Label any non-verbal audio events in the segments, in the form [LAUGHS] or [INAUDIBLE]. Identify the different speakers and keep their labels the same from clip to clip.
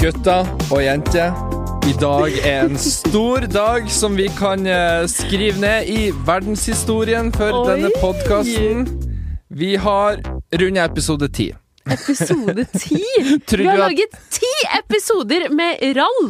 Speaker 1: gutter og jenter. I dag er en stor dag som vi kan eh, skrive ned i verdenshistorien for
Speaker 2: Oi.
Speaker 1: denne podkasten. Vi har runda episode ti.
Speaker 2: Episode [LAUGHS] ti!
Speaker 1: Tror
Speaker 2: Vi har
Speaker 1: du at-
Speaker 2: laget ti episoder med rall!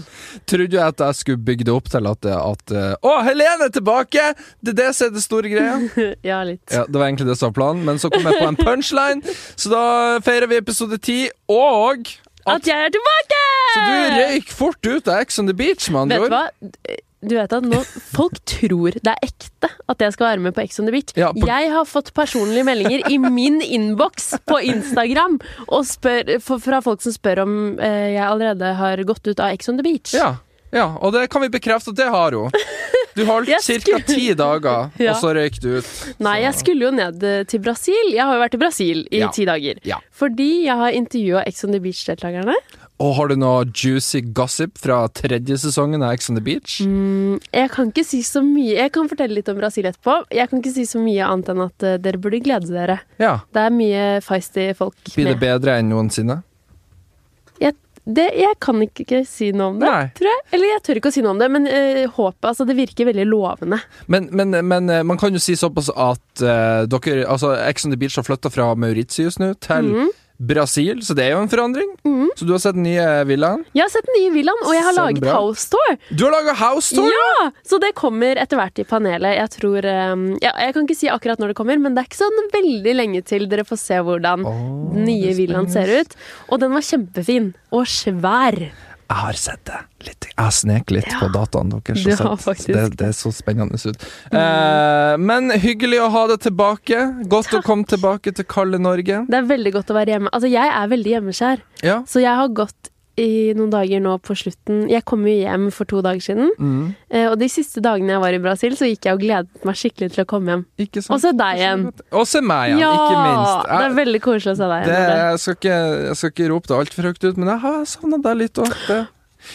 Speaker 1: Trodde jo at jeg skulle bygge det opp til at, at eh, Å, Helene er tilbake! Det er det som er det store greia.
Speaker 2: [LAUGHS] [LAUGHS] Ja, litt.
Speaker 1: Ja, Det var egentlig det som var planen, men så kom jeg på en punchline, så da feirer vi episode ti. Og
Speaker 2: At jeg er tilbake!
Speaker 1: Så du røyk fort ut av Ex on the Beach, med andre
Speaker 2: Eh. Vet du
Speaker 1: ord.
Speaker 2: hva? Du vet at nå, Folk tror det er ekte at jeg skal være med på Ex on the Beach.
Speaker 1: Ja, på-
Speaker 2: Jeg har fått personlige meldinger i min innboks på Instagram og spør, for- fra folk som spør om eh, jeg allerede har gått ut av Ex on the Beach.
Speaker 1: Ja, ja, og det kan vi bekrefte at det har hun. Du
Speaker 2: [LAUGHS]
Speaker 1: holdt
Speaker 2: Jeg
Speaker 1: ca.
Speaker 2: skulle-
Speaker 1: ti dager,
Speaker 2: [LAUGHS] Ja.
Speaker 1: og så røyk du ut.
Speaker 2: Nei, jeg skulle jo ned eh, til Brasil. Jeg har jo vært i Brasil i
Speaker 1: Ja.
Speaker 2: ti dager.
Speaker 1: Ja.
Speaker 2: Fordi jeg har intervjua Ex on the Beach-deltakerne.
Speaker 1: Og har du noe juicy gossip fra tredje sesongen av Ex on the Beach?
Speaker 2: Mm. Jeg kan ikke si så mye. Jeg kan fortelle litt om Brasil etterpå. Jeg kan ikke si så mye annet enn at eh, dere burde glede dere.
Speaker 1: Ja.
Speaker 2: Det er mye feisty folk
Speaker 1: Blir det
Speaker 2: med.
Speaker 1: bedre enn noensinne?
Speaker 2: Jeg, det, jeg kan ikke, ikke si noe om det,
Speaker 1: Nei.
Speaker 2: tror jeg. Eller jeg tør ikke å si noe om det, men eh, håpet altså, Det virker veldig lovende.
Speaker 1: Men, men, men eh, man kan jo si såpass at eh, dere, altså Ex on the Beach har flytta fra Mauritius nå til
Speaker 2: Mm.
Speaker 1: Brasil, så det er jo en forandring. Så du har sett den nye villaen.
Speaker 2: Jeg har sett den nye villaen, og jeg har
Speaker 1: Så
Speaker 2: laget
Speaker 1: bra.
Speaker 2: House Tour.
Speaker 1: Du har laga House Tour!
Speaker 2: Ja! Så det kommer etter hvert i panelet. Jeg tror eh, ja, Jeg kan ikke si akkurat når det kommer, men det er ikke sånn veldig lenge til dere får se hvordan
Speaker 1: Åh,
Speaker 2: den nye villaen ser ut. Og den var kjempefin. Og svær.
Speaker 1: Jeg har sett det. Litt. Jeg har sneket litt på dataene deres.
Speaker 2: [LAUGHS] du
Speaker 1: og sett.
Speaker 2: har faktisk Mm.
Speaker 1: det, det er så spennende ut. Eh, men hyggelig å ha deg tilbake. Godt å komme tilbake til kalde Norge.
Speaker 2: Det er veldig godt å være hjemme. Altså, jeg er veldig hjemmeskjær,
Speaker 1: Ja.
Speaker 2: så jeg har gått i noen dager nå på slutten. Jeg kom jo hjem for to dager siden,
Speaker 1: Mm.
Speaker 2: eh, og de siste dagene jeg var i Brasil, så gikk jeg og gledet meg skikkelig til å komme hjem.
Speaker 1: Ikke sant?
Speaker 2: Og så deg igjen.
Speaker 1: Og så meg igjen,
Speaker 2: Ja!
Speaker 1: ikke minst.
Speaker 2: Det er veldig koselig å se deg
Speaker 1: Det,
Speaker 2: igjen.
Speaker 1: jeg, skal ikke, jeg skal ikke rope det altfor høyt ut, men jeg har savna deg litt òg.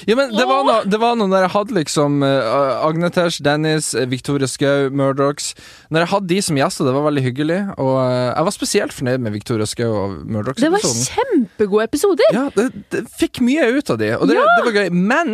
Speaker 1: Ja, men det var, noe, det var noe når jeg hadde liksom eh, Agnetesh, Dennis, eh, Victoria Skau, Murdochs Når jeg hadde de som gjester, det var veldig hyggelig. Og eh, jeg var spesielt fornøyd med Victoria Skau og Murdochs.
Speaker 2: Det var
Speaker 1: episoden.
Speaker 2: kjempegode episoder!
Speaker 1: Ja, det, det fikk mye ut av de, og det, det var gøy. Men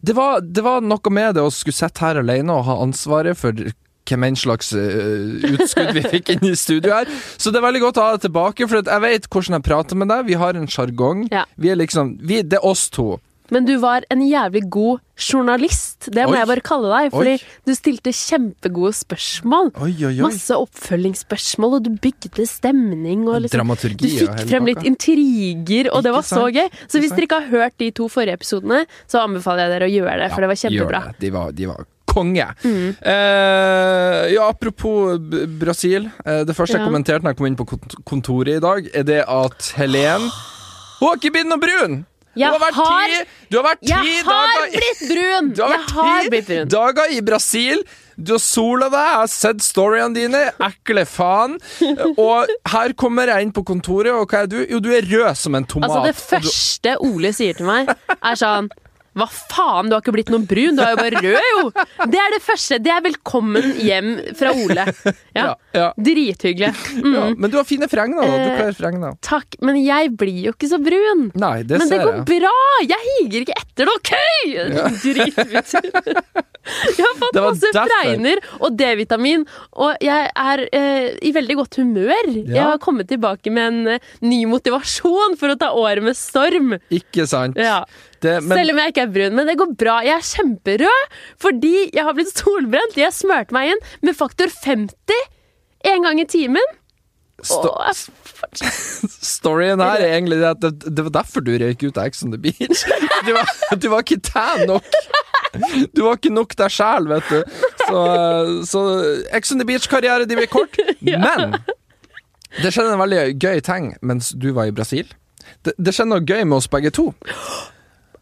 Speaker 1: det var, det var noe med det å skulle sitte her alene og ha ansvaret for hvem enn slags øh, utskudd vi fikk inn i studio her. Så det er veldig godt å ha deg tilbake, for at jeg vet hvordan jeg prater med deg. Vi har en sjargong.
Speaker 2: Ja.
Speaker 1: Vi er liksom vi, Det er oss to.
Speaker 2: Men du var en jævlig god journalist, det må
Speaker 1: Oi.
Speaker 2: jeg bare kalle deg. Fordi
Speaker 1: Oi.
Speaker 2: du stilte kjempegode spørsmål.
Speaker 1: Oi, oi, oi.
Speaker 2: Masse oppfølgingsspørsmål, og du bygde stemning. Og liksom, Du
Speaker 1: Dramaturgi og
Speaker 2: fikk
Speaker 1: hele
Speaker 2: frem
Speaker 1: pakka.
Speaker 2: litt intriger, og det
Speaker 1: Ikke
Speaker 2: var så
Speaker 1: sant?
Speaker 2: gøy. Så hvis
Speaker 1: sant?
Speaker 2: dere ikke har hørt de to forrige episodene, så anbefaler jeg dere å gjøre det, for det var
Speaker 1: Ja, gjør
Speaker 2: kjempebra. Mm.
Speaker 1: det. De var, de var konge. Eh, ja, apropos B- Brasil. Eh, det første jeg
Speaker 2: Ja.
Speaker 1: kommenterte når jeg kom inn på kont- kontoret i dag, er det at Helen Hun har ikke blitt noe brun!
Speaker 2: Jeg
Speaker 1: hun har vært
Speaker 2: har-
Speaker 1: ti, du har vært ti
Speaker 2: Jeg har
Speaker 1: dager
Speaker 2: blitt
Speaker 1: [LAUGHS]
Speaker 2: brun!
Speaker 1: du har
Speaker 2: Jeg har
Speaker 1: vært
Speaker 2: blitt
Speaker 1: ti
Speaker 2: brun.
Speaker 1: dager i Brasil. Du har sola deg, jeg har sett storyene dine. Ekle faen. Og her kommer jeg inn på kontoret, og hva er du? Jo, du er rød som en tomat.
Speaker 2: Altså, det
Speaker 1: og du-
Speaker 2: første Ole sier til meg, er sånn hva faen, du har ikke blitt noen brun, du er jo bare rød, jo! Det er det første. Det er velkommen hjem fra Ole. Ja.
Speaker 1: Ja, ja.
Speaker 2: Drithyggelig. Mm.
Speaker 1: ja, men du har fine fregner, da. Du
Speaker 2: Eh,
Speaker 1: kler fregner.
Speaker 2: Takk. Men jeg blir jo ikke så brun.
Speaker 1: Nei, det
Speaker 2: Men det
Speaker 1: ser
Speaker 2: går
Speaker 1: jeg.
Speaker 2: bra! Jeg higer ikke etter det, OK?! [LAUGHS] Dritbitter. Jeg har fått
Speaker 1: Det var
Speaker 2: masse
Speaker 1: derfor.
Speaker 2: fregner og D-vitamin, og jeg er eh, i veldig godt humør. Jeg har kommet tilbake med en eh, ny motivasjon for å ta året med storm.
Speaker 1: Ikke sant.
Speaker 2: Ja.
Speaker 1: Det, men,
Speaker 2: Selv om jeg ikke er brun. Men det går bra. Jeg er kjemperød fordi jeg har blitt solbrent. Jeg smurte meg inn med faktor 50 én gang i timen.
Speaker 1: Sto-
Speaker 2: Og eh, jeg fortsatt
Speaker 1: storyen her er egentlig det at det, det var derfor du røyk ut av Ex on the
Speaker 2: [LAUGHS]
Speaker 1: Beach. Du var, du var ikke tan nok. Du var ikke nok deg sjæl, vet du. Så, så Ex on the Beach-karriere de blir
Speaker 2: [LAUGHS]
Speaker 1: kort. Men det skjedde en veldig gøy ting mens du var i Brasil. Det, det skjedde noe gøy med oss begge to.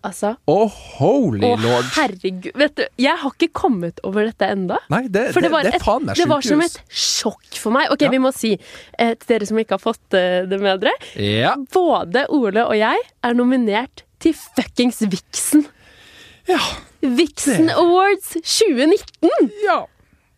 Speaker 2: Altså,
Speaker 1: Å, holy
Speaker 2: Å,
Speaker 1: lord.
Speaker 2: herregud. Vet du, jeg har ikke kommet over dette enda.
Speaker 1: Nei, det,
Speaker 2: For det var,
Speaker 1: det, det er faen
Speaker 2: et,
Speaker 1: meg
Speaker 2: det var som
Speaker 1: sjukehus.
Speaker 2: et sjokk for meg. Ok,
Speaker 1: Ja.
Speaker 2: vi må si eh, til dere som ikke har fått eh, det med dere.
Speaker 1: Ja.
Speaker 2: Både Ole og jeg er nominert til fuckings Vixen.
Speaker 1: Ja.
Speaker 2: Vixen
Speaker 1: Det-
Speaker 2: Awards 2019!
Speaker 1: ja.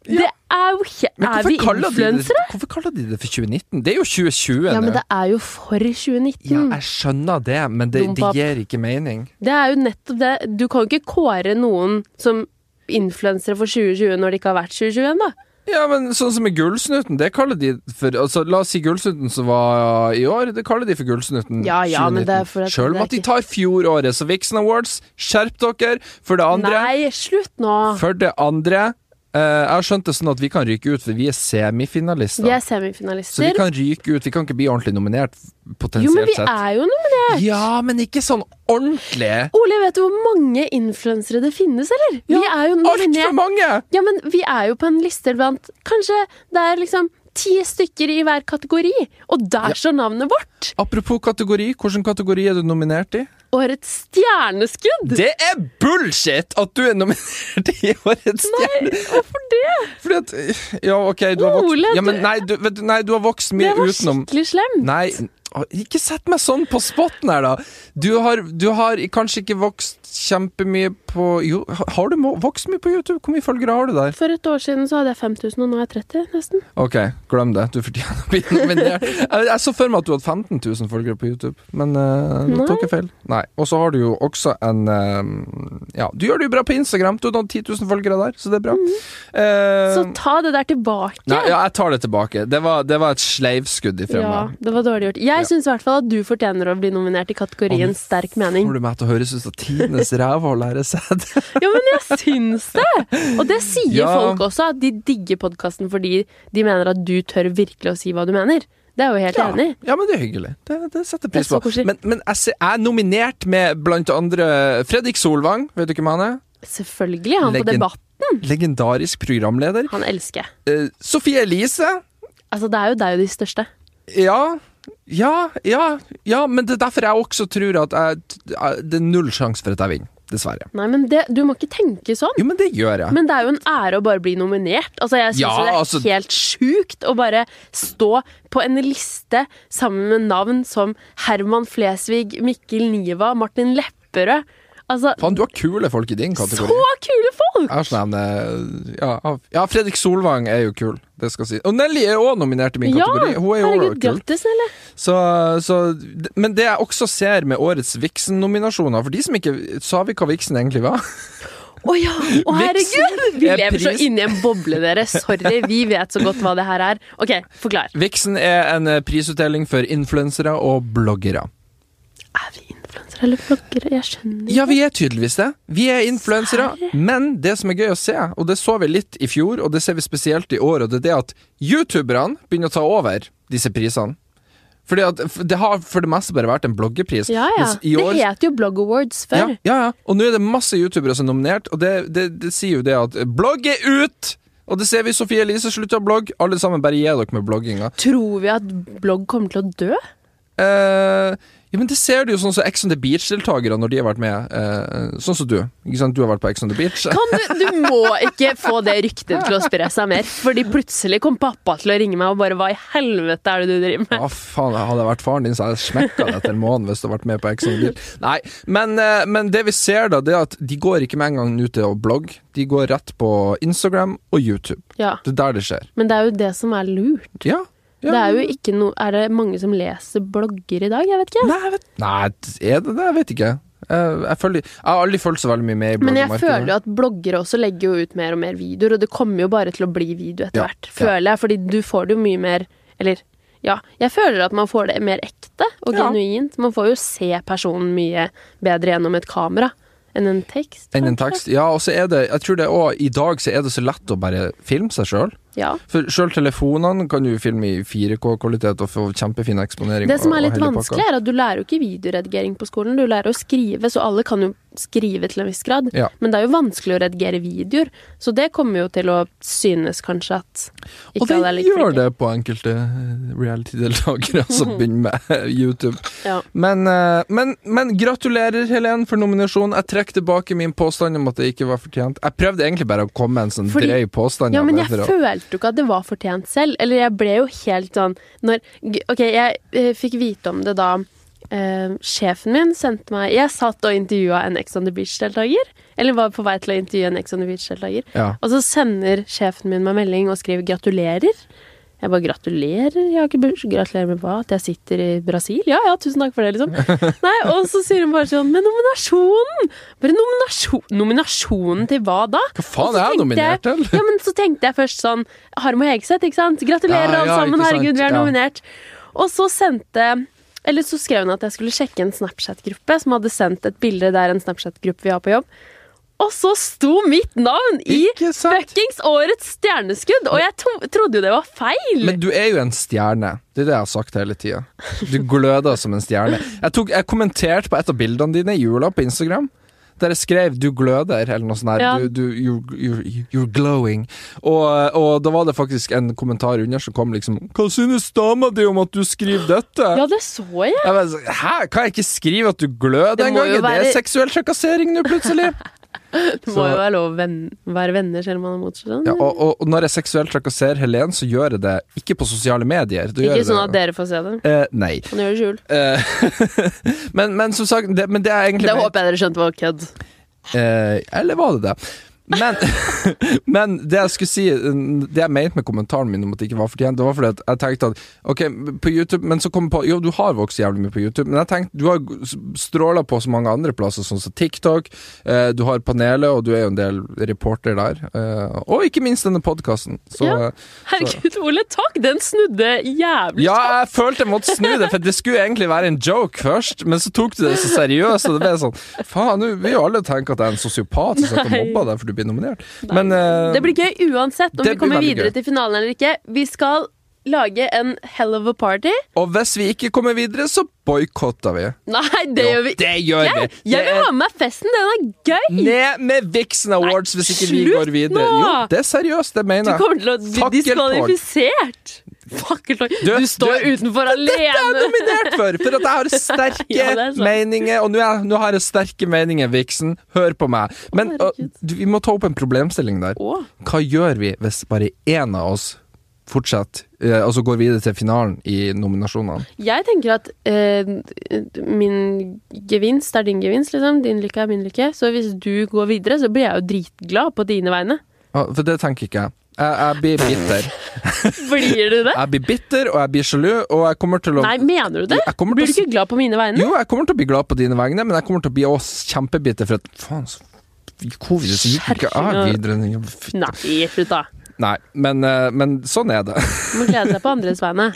Speaker 2: Det er jo ikke
Speaker 1: Men
Speaker 2: Er
Speaker 1: hvorfor
Speaker 2: vi
Speaker 1: kaller de det-
Speaker 2: influensere?
Speaker 1: Hvorfor kaller de det for 2019? Det er jo 2020
Speaker 2: Ja, men
Speaker 1: nå.
Speaker 2: det er Mm. jo for 2019.
Speaker 1: Ja, jeg skjønner det, men det, det
Speaker 2: Dompap.
Speaker 1: gir ikke mening.
Speaker 2: Det er jo nettopp det. Du kan jo ikke kåre noen som influensere for 2020 når det ikke har vært 2021, da.
Speaker 1: Ja, men sånn som med Gullsnuten, det kaller de for altså, La oss si Gullsnuten som var uh, i år, det kaller de for Gullsnuten
Speaker 2: Ja, ja, men det er for at
Speaker 1: Sjøl
Speaker 2: det
Speaker 1: om
Speaker 2: er
Speaker 1: at de
Speaker 2: ikke-
Speaker 1: tar fjoråret, så Vixen Awards, skjerp dere! For det andre
Speaker 2: Nei, slutt nå!
Speaker 1: For det andre eh, Jeg har skjønt det sånn at vi kan ryke ut, for vi er semifinalister.
Speaker 2: Vi er
Speaker 1: Så vi
Speaker 2: semifinalister.
Speaker 1: kan ryke ut. Vi kan ikke bli ordentlig nominert,
Speaker 2: Jo, men
Speaker 1: potensielt
Speaker 2: vi
Speaker 1: sett.
Speaker 2: er jo nominert!
Speaker 1: Ja, men ikke sånn ordentlig!
Speaker 2: Ole, vet du hvor mange influensere det finnes, eller?
Speaker 1: Ja,
Speaker 2: vi er jo
Speaker 1: Altfor
Speaker 2: nominert.
Speaker 1: mange!
Speaker 2: Ja, men vi er jo på en liste blant Kanskje det er liksom ti stykker i hver kategori, og der står navnet vårt!
Speaker 1: Apropos kategori, hvilken kategori er du nominert i?
Speaker 2: Årets stjerneskudd!
Speaker 1: Det er bullshit at du er nominert i Årets stjerne!
Speaker 2: Hvorfor det?
Speaker 1: Fordi at Ja, OK, du har
Speaker 2: Ole,
Speaker 1: vokst ja,
Speaker 2: du-
Speaker 1: men nei, du, vet du, nei, du har vokst
Speaker 2: Det
Speaker 1: mye
Speaker 2: var
Speaker 1: utenom
Speaker 2: skikkelig slemt.
Speaker 1: Nei, å, ikke sett meg sånn på spotten her, da. Du har, du har kanskje ikke vokst kjempemye på Jo, har du mo- vokst mye på YouTube? Hvor mye følgere har du der?
Speaker 2: For et år siden så hadde jeg 5000, og nå er jeg 30, nesten.
Speaker 1: Ok, glem det. Du fortjener å bli nominert. Jeg, jeg så for meg at du hadde 15 000 følgere på YouTube, men eh, nå tok jeg feil. Nei. Og så har du jo også en eh, Ja, du gjør det jo bra på Instagram. Du har noen 10 000 følgere der, så det er bra. Eh,
Speaker 2: Mhm. Så ta det der tilbake.
Speaker 1: nei, ja, jeg tar det tilbake. Det var, det var et sleivskudd ifra
Speaker 2: Ja,
Speaker 1: meg.
Speaker 2: det var dårlig gjort. Jeg
Speaker 1: Ja.
Speaker 2: syns i hvert fall at du fortjener å bli nominert i kategorien sterk mening.
Speaker 1: Får du meg til å høres ut som tidenes rævhold her jeg sitter?
Speaker 2: Ja, men jeg syns det! Og det sier
Speaker 1: Ja.
Speaker 2: folk også, at de digger podkasten fordi de mener at du tør virkelig å si hva du mener. Det er jeg jo helt
Speaker 1: Ja.
Speaker 2: enig i.
Speaker 1: Ja, men det er hyggelig. Det, det setter
Speaker 2: Det er
Speaker 1: pris
Speaker 2: så
Speaker 1: på.
Speaker 2: koselig.
Speaker 1: Men, men jeg, ser, jeg er nominert med blant andre Fredrik Solvang, vet du hvem han er?
Speaker 2: Selvfølgelig. Han på
Speaker 1: Legend-
Speaker 2: Debatt.
Speaker 1: Legendarisk programleder.
Speaker 2: Han elsker jeg.
Speaker 1: Eh, Sofie Elise.
Speaker 2: Altså, det er jo deg og de største.
Speaker 1: Ja. Ja, ja, ja, men det er derfor jeg også tror at jeg, jeg, det er null sjanse for at jeg vinner. Dessverre.
Speaker 2: Nei, men det, du må ikke tenke sånn.
Speaker 1: Jo, men det gjør jeg.
Speaker 2: Men det er jo en ære å bare bli nominert. Altså, jeg synes
Speaker 1: Ja,
Speaker 2: jo det er
Speaker 1: altså-
Speaker 2: helt sjukt å bare stå på en liste sammen med navn som Herman Flesvig, Mikkel Niva, Martin Lepperød. Altså,
Speaker 1: Faen, du har kule folk i din kategori.
Speaker 2: så kule folk!
Speaker 1: Jeg har sånn en, eh, ja, av- ja, Fredrik Solvang er jo kul, det skal si. Og Nelly er òg nominert i min
Speaker 2: Ja,
Speaker 1: kategori. Hun er jo også
Speaker 2: herregud,
Speaker 1: kul.
Speaker 2: grattis, Nelle.
Speaker 1: Så, så, men det jeg også ser med årets Vixen-nominasjoner For de som ikke sa vi hva Vixen egentlig var.
Speaker 2: Å ja, å herregud!
Speaker 1: [LAUGHS] Vixen
Speaker 2: Vi
Speaker 1: er
Speaker 2: lever så
Speaker 1: pris-
Speaker 2: inni en boble, dere. Sorry, vi vet så godt hva det her er. Ok, forklar.
Speaker 1: Vixen er en eh, prisutdeling for influensere og bloggere.
Speaker 2: Er vi influensere eller bloggere? Jeg skjønner
Speaker 1: Ja, vi er tydeligvis det. Vi er influensere. Men det som er gøy å se, og det så vi litt i fjor, og det ser vi spesielt i år, og det er det at youtuberne begynner å ta over disse prisene. Fordi at f- Det har for det meste bare vært en bloggepris.
Speaker 2: Ja, ja.
Speaker 1: Mens i
Speaker 2: Det
Speaker 1: år-
Speaker 2: het jo Blog Awards
Speaker 1: Ja,
Speaker 2: før.
Speaker 1: ja, ja. Og nå er det masse youtubere som er nominert, og det, det, det sier jo det at blogg er ut! Og det ser vi. Sofie Elise slutta å blogge. Alle sammen, bare gi dere med blogginga.
Speaker 2: Tror vi at blogg kommer til å dø?
Speaker 1: Eh, ja, men det ser du jo sånn som Ex on the Beach-deltakere når de har vært med. eh, sånn som du. Ikke sant? Du har vært på Ex on the Beach.
Speaker 2: Kan du, du må ikke få det ryktet til å spre seg mer. Fordi plutselig kom pappa til å ringe meg og bare Hva i helvete er det du driver med?
Speaker 1: [LAUGHS] Ja, faen, Hadde jeg vært faren din, så hadde jeg smekka deg etter en måned hvis du hadde vært med på Ex on the Beach. Nei, men, eh, men det vi ser, da, det er at de går ikke med en gang ut til å blogge. De går rett på Instagram og YouTube.
Speaker 2: Ja,
Speaker 1: Det er der det skjer.
Speaker 2: Men det er jo det som er lurt.
Speaker 1: Ja. ja.
Speaker 2: Det er jo ikke noe Er det mange som leser blogger i dag? Jeg vet ikke.
Speaker 1: Nei, jeg vet, nei, er det det? Jeg vet ikke. Jeg, jeg, føler, jeg har aldri følt så veldig mye med i
Speaker 2: Men jeg føler
Speaker 1: bloggmarkedet.
Speaker 2: jo at bloggere også legger jo ut mer og mer videoer, og det kommer jo bare til å bli video etter
Speaker 1: Ja,
Speaker 2: hvert, føler jeg, fordi du får det jo mye mer Eller ja, jeg føler at man får det mer ekte og
Speaker 1: Ja.
Speaker 2: genuint. Man får jo se personen mye bedre gjennom et kamera enn en tekst.
Speaker 1: Enn en
Speaker 2: kanskje.
Speaker 1: tekst. Ja, og så er det Jeg tror det òg I dag så er det så lett å bare filme seg sjøl.
Speaker 2: Ja.
Speaker 1: For sjøl telefonene kan du filme i 4K-kvalitet og få kjempefin eksponering.
Speaker 2: Det som
Speaker 1: og-
Speaker 2: er
Speaker 1: og
Speaker 2: litt
Speaker 1: hele pakka.
Speaker 2: vanskelig, er at du lærer jo ikke videoredigering på skolen. Du lærer å skrive, så alle kan jo skrive til en viss grad.
Speaker 1: Ja.
Speaker 2: Men det er jo vanskelig å redigere videoer, så det kommer jo til å synes kanskje at ikke
Speaker 1: Og det
Speaker 2: alle er like
Speaker 1: gjør
Speaker 2: flinke.
Speaker 1: det på enkelte eh, reality-deltakere [LAUGHS] som begynner med eh, YouTube.
Speaker 2: Ja.
Speaker 1: Men, eh, men, men gratulerer, Helen, for nominasjonen. Jeg trekker tilbake min påstand om at det ikke var fortjent. Jeg prøvde egentlig bare å komme med en sånn
Speaker 2: Fordi-
Speaker 1: drøy påstand.
Speaker 2: Ja,
Speaker 1: av
Speaker 2: men
Speaker 1: det
Speaker 2: jeg
Speaker 1: for å-
Speaker 2: følte jo ikke at det var fortjent selv. Eller jeg ble jo helt sånn når, g- Ok, jeg eh, fikk vite om det da eh, sjefen min sendte meg Jeg satt og intervjua en Ex on the Beach-deltaker. Eller var på vei til å intervjue en Ex on the Beach-deltaker.
Speaker 1: Ja.
Speaker 2: Og så sender sjefen min meg melding og skriver 'gratulerer'. Jeg bare 'gratulerer'? Jeg har ikke burs. Gratulerer med hva? At jeg sitter i Brasil? Ja ja, tusen takk for det, liksom. [LAUGHS] Nei, Og så sier hun bare sånn 'med nominasjonen'! Bare nominasjon, nominasjonen til hva da?
Speaker 1: Hva faen er
Speaker 2: Og så
Speaker 1: jeg
Speaker 2: tenkte jeg-
Speaker 1: nominert til?
Speaker 2: Ja, men så tenkte jeg først sånn Harm og Hegseth, ikke sant? Gratulerer,
Speaker 1: Ja, ja,
Speaker 2: alle sammen!
Speaker 1: ikke sant,
Speaker 2: Herregud, vi er
Speaker 1: ja.
Speaker 2: nominert! Og så sendte Eller så skrev hun at jeg skulle sjekke en Snapchat-gruppe som hadde sendt et bilde der en Snapchat-gruppe vi har på jobb. Og så sto mitt navn i
Speaker 1: Ikke sant?
Speaker 2: fuckings årets stjerneskudd! Og jeg to trodde jo det var feil!
Speaker 1: Men du er jo en stjerne. Det er det jeg har sagt hele tida. Du gløder som en stjerne. Jeg, tok, jeg kommenterte på et av bildene dine i jula på Instagram. Der jeg skrev 'du gløder' eller noe sånt. her
Speaker 2: Ja.
Speaker 1: du, du, you're, you're, you're glowing. Og, og da var det faktisk en kommentar under som kom liksom 'Hva synes dama di om at du skriver dette?'
Speaker 2: ja, det så jeg!
Speaker 1: Jeg bare, så- Hæ, kan jeg ikke skrive at du gløder
Speaker 2: Det må
Speaker 1: engang?
Speaker 2: jo
Speaker 1: Er det
Speaker 2: være-
Speaker 1: seksuell trakassering nå,
Speaker 2: [LAUGHS]
Speaker 1: plutselig?
Speaker 2: Det må
Speaker 1: Så-
Speaker 2: jo være lov å venn- være venner selv om man er motsatt.
Speaker 1: Ja, og, og, og når jeg seksuelt trakasserer Helen, så gjør jeg det ikke på sosiale medier. Da gjør
Speaker 2: ikke
Speaker 1: jeg
Speaker 2: sånn at
Speaker 1: det.
Speaker 2: dere får se det.
Speaker 1: Eh, nei.
Speaker 2: Man gjør det i skjul.
Speaker 1: Eh, [LAUGHS] men, men som sagt, det, men det er egentlig
Speaker 2: Det håper jeg dere skjønte var kødd.
Speaker 1: Eh, Eller var det det? Men, [LAUGHS] men det jeg skulle si Det jeg mente med kommentaren min om at det ikke var fortjent, det var fordi at jeg tenkte at Ok, på YouTube Men så kom jeg på Jo, du har vokst jævlig mye på YouTube, men jeg tenkte du har stråla på så mange andre plasser, sånn som TikTok. eh, du har panelet, og du er jo en del reporter der. eh, og ikke minst denne podkasten. Så
Speaker 2: Ja. Herregud, Ole, takk! Den snudde jævlig.
Speaker 1: Ja, jeg følte jeg måtte snu det, for det skulle egentlig være en joke først, men så tok du det så seriøst, og det ble sånn Faen, nå vil jo alle tenke at jeg er en sosiopat som sitter og
Speaker 2: Nei.
Speaker 1: mobber deg for du blir nominert. Men eh,
Speaker 2: Det blir gøy uansett om
Speaker 1: det
Speaker 2: vi kommer
Speaker 1: blir veldig
Speaker 2: videre
Speaker 1: gøy.
Speaker 2: til finalen eller ikke. Vi skal lage en hell of a party.
Speaker 1: Og hvis vi ikke kommer videre, så boikotter vi.
Speaker 2: Nei, det
Speaker 1: Jo,
Speaker 2: gjør vi ikke!
Speaker 1: Det gjør vi.
Speaker 2: Jeg, jeg vil ha med meg festen, den er gøy!
Speaker 1: Det er Ned med Vixen Awards hvis ikke vi
Speaker 2: slutt
Speaker 1: går videre.
Speaker 2: nå!
Speaker 1: Jo, det er seriøst, det
Speaker 2: Du
Speaker 1: mener jeg.
Speaker 2: kommer til å bli
Speaker 1: Fakkeltog.
Speaker 2: diskvalifisert! Fakkeltog. Du,
Speaker 1: Du-
Speaker 2: står
Speaker 1: du-
Speaker 2: utenfor
Speaker 1: Dette er jeg
Speaker 2: alene!
Speaker 1: nominert for! For at
Speaker 2: [LAUGHS]
Speaker 1: jeg har sterke
Speaker 2: Ja, det er sant.
Speaker 1: meninger. Og nå, er, nå har jeg sterke meninger, Vixen. Hør på meg. Men
Speaker 2: Å, herregud.
Speaker 1: øh, du, vi må ta opp en problemstilling der.
Speaker 2: Å.
Speaker 1: Hva gjør vi hvis bare én av oss fortsetter, eh, altså går videre til finalen i nominasjonene?
Speaker 2: Jeg tenker at eh, min gevinst er din gevinst, liksom. Din lykke er min lykke. Så hvis du går videre, så blir jeg jo dritglad på dine vegne.
Speaker 1: Ah, For det tenker ikke jeg. Jeg, jeg blir bitter.
Speaker 2: Blir
Speaker 1: [LAUGHS]
Speaker 2: du det?
Speaker 1: Jeg blir bitter, og jeg blir sjalu, og jeg kommer til å
Speaker 2: Nei, mener du det?
Speaker 1: altså, Jeg kommer
Speaker 2: Blir
Speaker 1: til
Speaker 2: du
Speaker 1: å
Speaker 2: ikke glad på mine vegne?
Speaker 1: Jo, jeg kommer til å bli glad på dine vegne, men jeg kommer til å bli også kjempebitter for at faen, så covid så gikk ikke jeg videre.
Speaker 2: Nei, slutt da.
Speaker 1: Nei, men, eh, men sånn er det. [LAUGHS]
Speaker 2: Du må glede deg på andres vegne.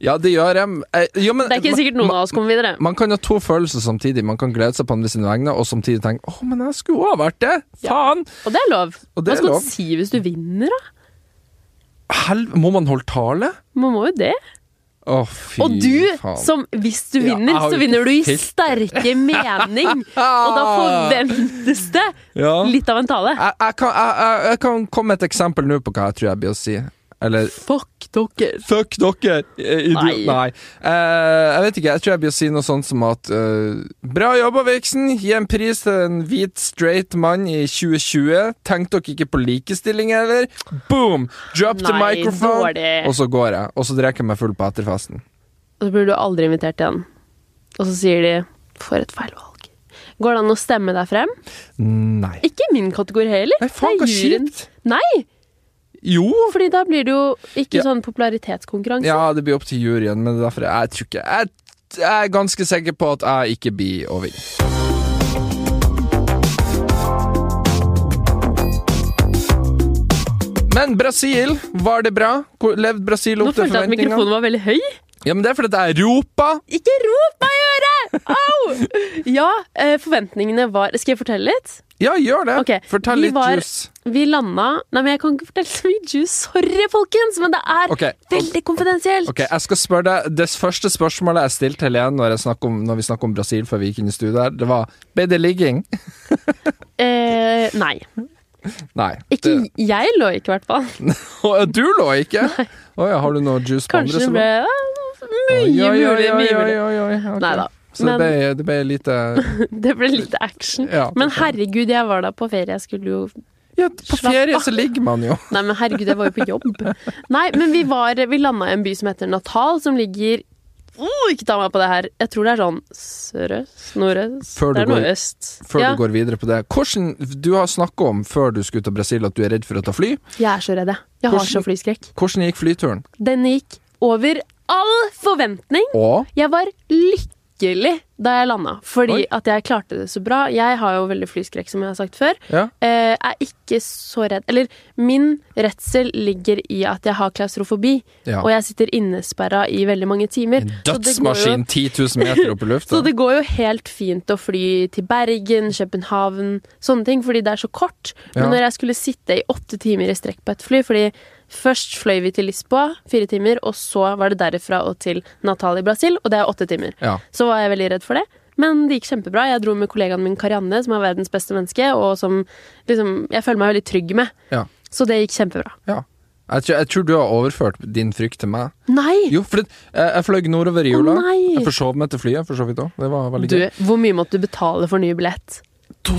Speaker 1: Ja, det gjør jeg. Eh, Jo, men,
Speaker 2: Det er ikke sikkert noen av oss kommer videre.
Speaker 1: Man kan ha to følelser samtidig. Man kan glede seg på andre sine vegne, og samtidig tenke 'Å, men jeg skulle òg ha vært det'. Faen!
Speaker 2: Og det er lov.
Speaker 1: Og det
Speaker 2: Hva
Speaker 1: er
Speaker 2: skal
Speaker 1: lov.
Speaker 2: du si hvis du vinner, da?
Speaker 1: Hel må man holde tale?
Speaker 2: Man må jo det.
Speaker 1: Å, fy
Speaker 2: Og du,
Speaker 1: faen.
Speaker 2: som hvis du
Speaker 1: Ja,
Speaker 2: vinner,
Speaker 1: jeg har
Speaker 2: så
Speaker 1: jo
Speaker 2: vinner du i
Speaker 1: ikke
Speaker 2: sterke
Speaker 1: [LAUGHS]
Speaker 2: mening. Og da forventes det
Speaker 1: Ja.
Speaker 2: litt av en tale.
Speaker 1: jeg, jeg, kan, jeg, jeg, jeg kan komme med et eksempel nå på hva jeg tror jeg blir å si. Eller
Speaker 2: Fuck dere.
Speaker 1: Fuck dere! eh, idiot.
Speaker 2: Nei.
Speaker 1: Nei. Eh, jeg vet ikke, jeg tror jeg blir å si noe sånt som at eh, Bra jobba, Vixen! Gi en pris til en hvit, straight mann i 2020. Tenk dere ikke på likestilling, eller? Boom! Drop the
Speaker 2: Nei,
Speaker 1: microphone!
Speaker 2: dårlig.
Speaker 1: Og så går jeg. Og så drikker jeg meg full på etterfesten.
Speaker 2: Og så blir du aldri invitert igjen. Og så sier de 'for et feil valg'. Går det an å stemme deg frem?
Speaker 1: Nei.
Speaker 2: Ikke i min kategori heller.
Speaker 1: Nei, faen,
Speaker 2: Det er
Speaker 1: hva
Speaker 2: juryen.
Speaker 1: kjipt!
Speaker 2: Nei,
Speaker 1: Jo!
Speaker 2: fordi da blir det jo ikke
Speaker 1: Ja.
Speaker 2: sånn popularitetskonkurranse.
Speaker 1: [LAUGHS] Ja, det blir opp til juryen, men det er derfor jeg, jeg tror ikke jeg, jeg er ganske sikker på at jeg ikke blir å vinne. Men Brasil, var det bra? Hvor- Levde Brasil
Speaker 2: Nå
Speaker 1: opp til
Speaker 2: følte jeg at
Speaker 1: forventningene?
Speaker 2: mikrofonen var veldig høy.
Speaker 1: Ja, men det er fordi jeg roper!
Speaker 2: Ikke rop meg i øret! Au! Ja, eh, forventningene var Skal jeg fortelle litt?
Speaker 1: Ja, gjør det.
Speaker 2: Ok,
Speaker 1: Fortell
Speaker 2: vi
Speaker 1: litt
Speaker 2: var-
Speaker 1: juice.
Speaker 2: Vi landa Nei, men jeg kan ikke fortelle så mye juice. Sorry, folkens, men det er
Speaker 1: Ok.
Speaker 2: veldig konfidensielt.
Speaker 1: Ok, jeg skal spørre deg Det første spørsmålet jeg stilte Helene når, jeg snakket om, når vi snakket om Brasil før vi gikk inn i studio her, det var Ble det ligging?
Speaker 2: Eh, nei.
Speaker 1: Nei.
Speaker 2: Ikke,
Speaker 1: det-
Speaker 2: jeg lå ikke, i hvert fall.
Speaker 1: [LAUGHS] Å, Du lå ikke? Å ja, har du noe juice på andre?
Speaker 2: Kanskje det
Speaker 1: som-
Speaker 2: ble ja, mye mulig. Mye mulig. Neida. [LAUGHS]
Speaker 1: Så det
Speaker 2: Men-
Speaker 1: ble, det ble lite
Speaker 2: Det ble litt action.
Speaker 1: Ja,
Speaker 2: Men herregud, jeg var da på ferie. Jeg skulle jo
Speaker 1: ja, På
Speaker 2: [LAUGHS] Slapp
Speaker 1: ferie
Speaker 2: av.
Speaker 1: så ligger man jo. [LAUGHS]
Speaker 2: Nei, men herregud, jeg var jo på jobb. Nei, men vi, var, vi landa i en by som heter Natal, som ligger oh, ikke ta meg på det her. Jeg tror det er sånn sørøst, nordøst
Speaker 1: Før du
Speaker 2: Det er
Speaker 1: går-
Speaker 2: nordøst.
Speaker 1: Før
Speaker 2: ja.
Speaker 1: du går videre på det. Hvordan, du har snakka om før du skulle til Brasil at du er redd for å ta fly.
Speaker 2: Jeg er så redd, jeg. Jeg har
Speaker 1: Hvordan-
Speaker 2: så flyskrekk.
Speaker 1: Hvordan gikk flyturen?
Speaker 2: Den gikk over all forventning.
Speaker 1: Og
Speaker 2: Jeg var lykkelig da jeg landa, fordi
Speaker 1: Oi.
Speaker 2: at jeg klarte det så bra. Jeg har jo veldig flyskrekk, som jeg har sagt før.
Speaker 1: Ja.
Speaker 2: Eh, er ikke så redd Eller min redsel ligger i at jeg har klaustrofobi,
Speaker 1: Ja.
Speaker 2: og jeg sitter innesperra i veldig mange timer.
Speaker 1: en
Speaker 2: Så det går jo-
Speaker 1: dødsmaskin 10 000 meter opp i lufta.
Speaker 2: [LAUGHS] Så det går jo helt fint å fly til Bergen, København, sånne ting, fordi det er så kort. Men
Speaker 1: Ja.
Speaker 2: når jeg skulle sitte i åtte timer i strekk på et fly, fordi først fløy vi til Lisboa, fire timer, og så var det derifra og til Natal i Brasil, og det er åtte timer.
Speaker 1: Ja.
Speaker 2: Så var jeg veldig redd for det. Men det gikk kjempebra. Jeg dro med kollegaen min Karianne, som er verdens beste menneske, og som liksom, jeg føler meg veldig trygg med.
Speaker 1: Ja.
Speaker 2: Så det gikk kjempebra.
Speaker 1: ja. Jeg, tror, jeg tror du har overført din frykt til meg.
Speaker 2: Nei!
Speaker 1: Jo, for det, jeg, jeg fløy nordover i jula.
Speaker 2: nei.
Speaker 1: jeg forsov meg til flyet, for så vidt òg. Det var veldig
Speaker 2: Du,
Speaker 1: gøy.
Speaker 2: hvor mye måtte du betale for ny billett?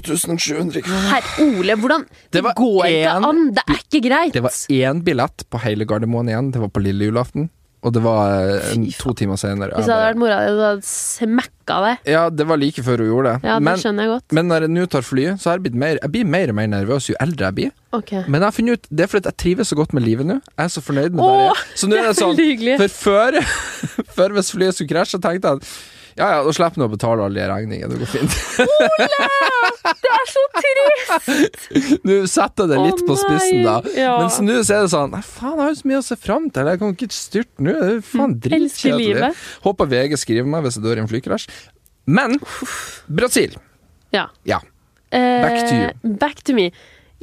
Speaker 1: 2700 kroner.
Speaker 2: Herr Ole, hvordan Det,
Speaker 1: Det var
Speaker 2: går ikke
Speaker 1: en-
Speaker 2: an! Det er ikke greit!
Speaker 1: Det var én billett på hele Gardermoen igjen. Det var på lille julaften. Og det var eh, en,
Speaker 2: Fy faen.
Speaker 1: to timer senere.
Speaker 2: Hvis
Speaker 1: Jeg
Speaker 2: det
Speaker 1: bare-
Speaker 2: hadde vært mora di, hadde jeg smekka deg.
Speaker 1: Ja, det var like før hun gjorde det.
Speaker 2: Ja, det
Speaker 1: men,
Speaker 2: skjønner jeg godt.
Speaker 1: men når jeg nå tar flyet, så har jeg blitt mer Jeg blir mer og mer nervøs jo eldre jeg blir.
Speaker 2: Ok.
Speaker 1: Men jeg har funnet ut det er fordi at jeg trives så godt med livet nå. Jeg er så fornøyd med det.
Speaker 2: Åh,
Speaker 1: jeg er. Så nå er det sånn
Speaker 2: Veldig hyggelig.
Speaker 1: For før, før [LAUGHS] hvis flyet skulle krasje, så tenkte jeg at ja ja, da slipper jeg å betale alle de regningene. Det går fint.
Speaker 2: Det er så trist!
Speaker 1: [LAUGHS] Nå setter jeg det litt
Speaker 2: Å,
Speaker 1: på spissen, da.
Speaker 2: nei. Ja.
Speaker 1: Mens nå så er det sånn Nei, faen, jeg har jo så mye å se fram til. Jeg kan ikke styrte nå. Det er jo faen
Speaker 2: Mm. elsker
Speaker 1: dritkjedelig.
Speaker 2: livet.
Speaker 1: Håper VG skriver meg hvis jeg dør i en flykrasj. Men Brasil.
Speaker 2: Ja.
Speaker 1: Ja.
Speaker 2: Eh,
Speaker 1: Back to you.
Speaker 2: Back to me.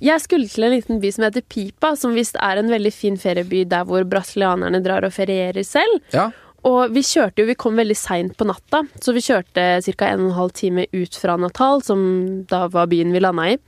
Speaker 2: Jeg skulle til en liten by som heter Pipa, som visst er en veldig fin ferieby der hvor brasilianerne drar og ferierer selv.
Speaker 1: ja.
Speaker 2: Og vi kjørte jo, vi kom veldig seint på natta, så vi kjørte ca. 1 12 time ut fra Natal, som da var byen vi landa i.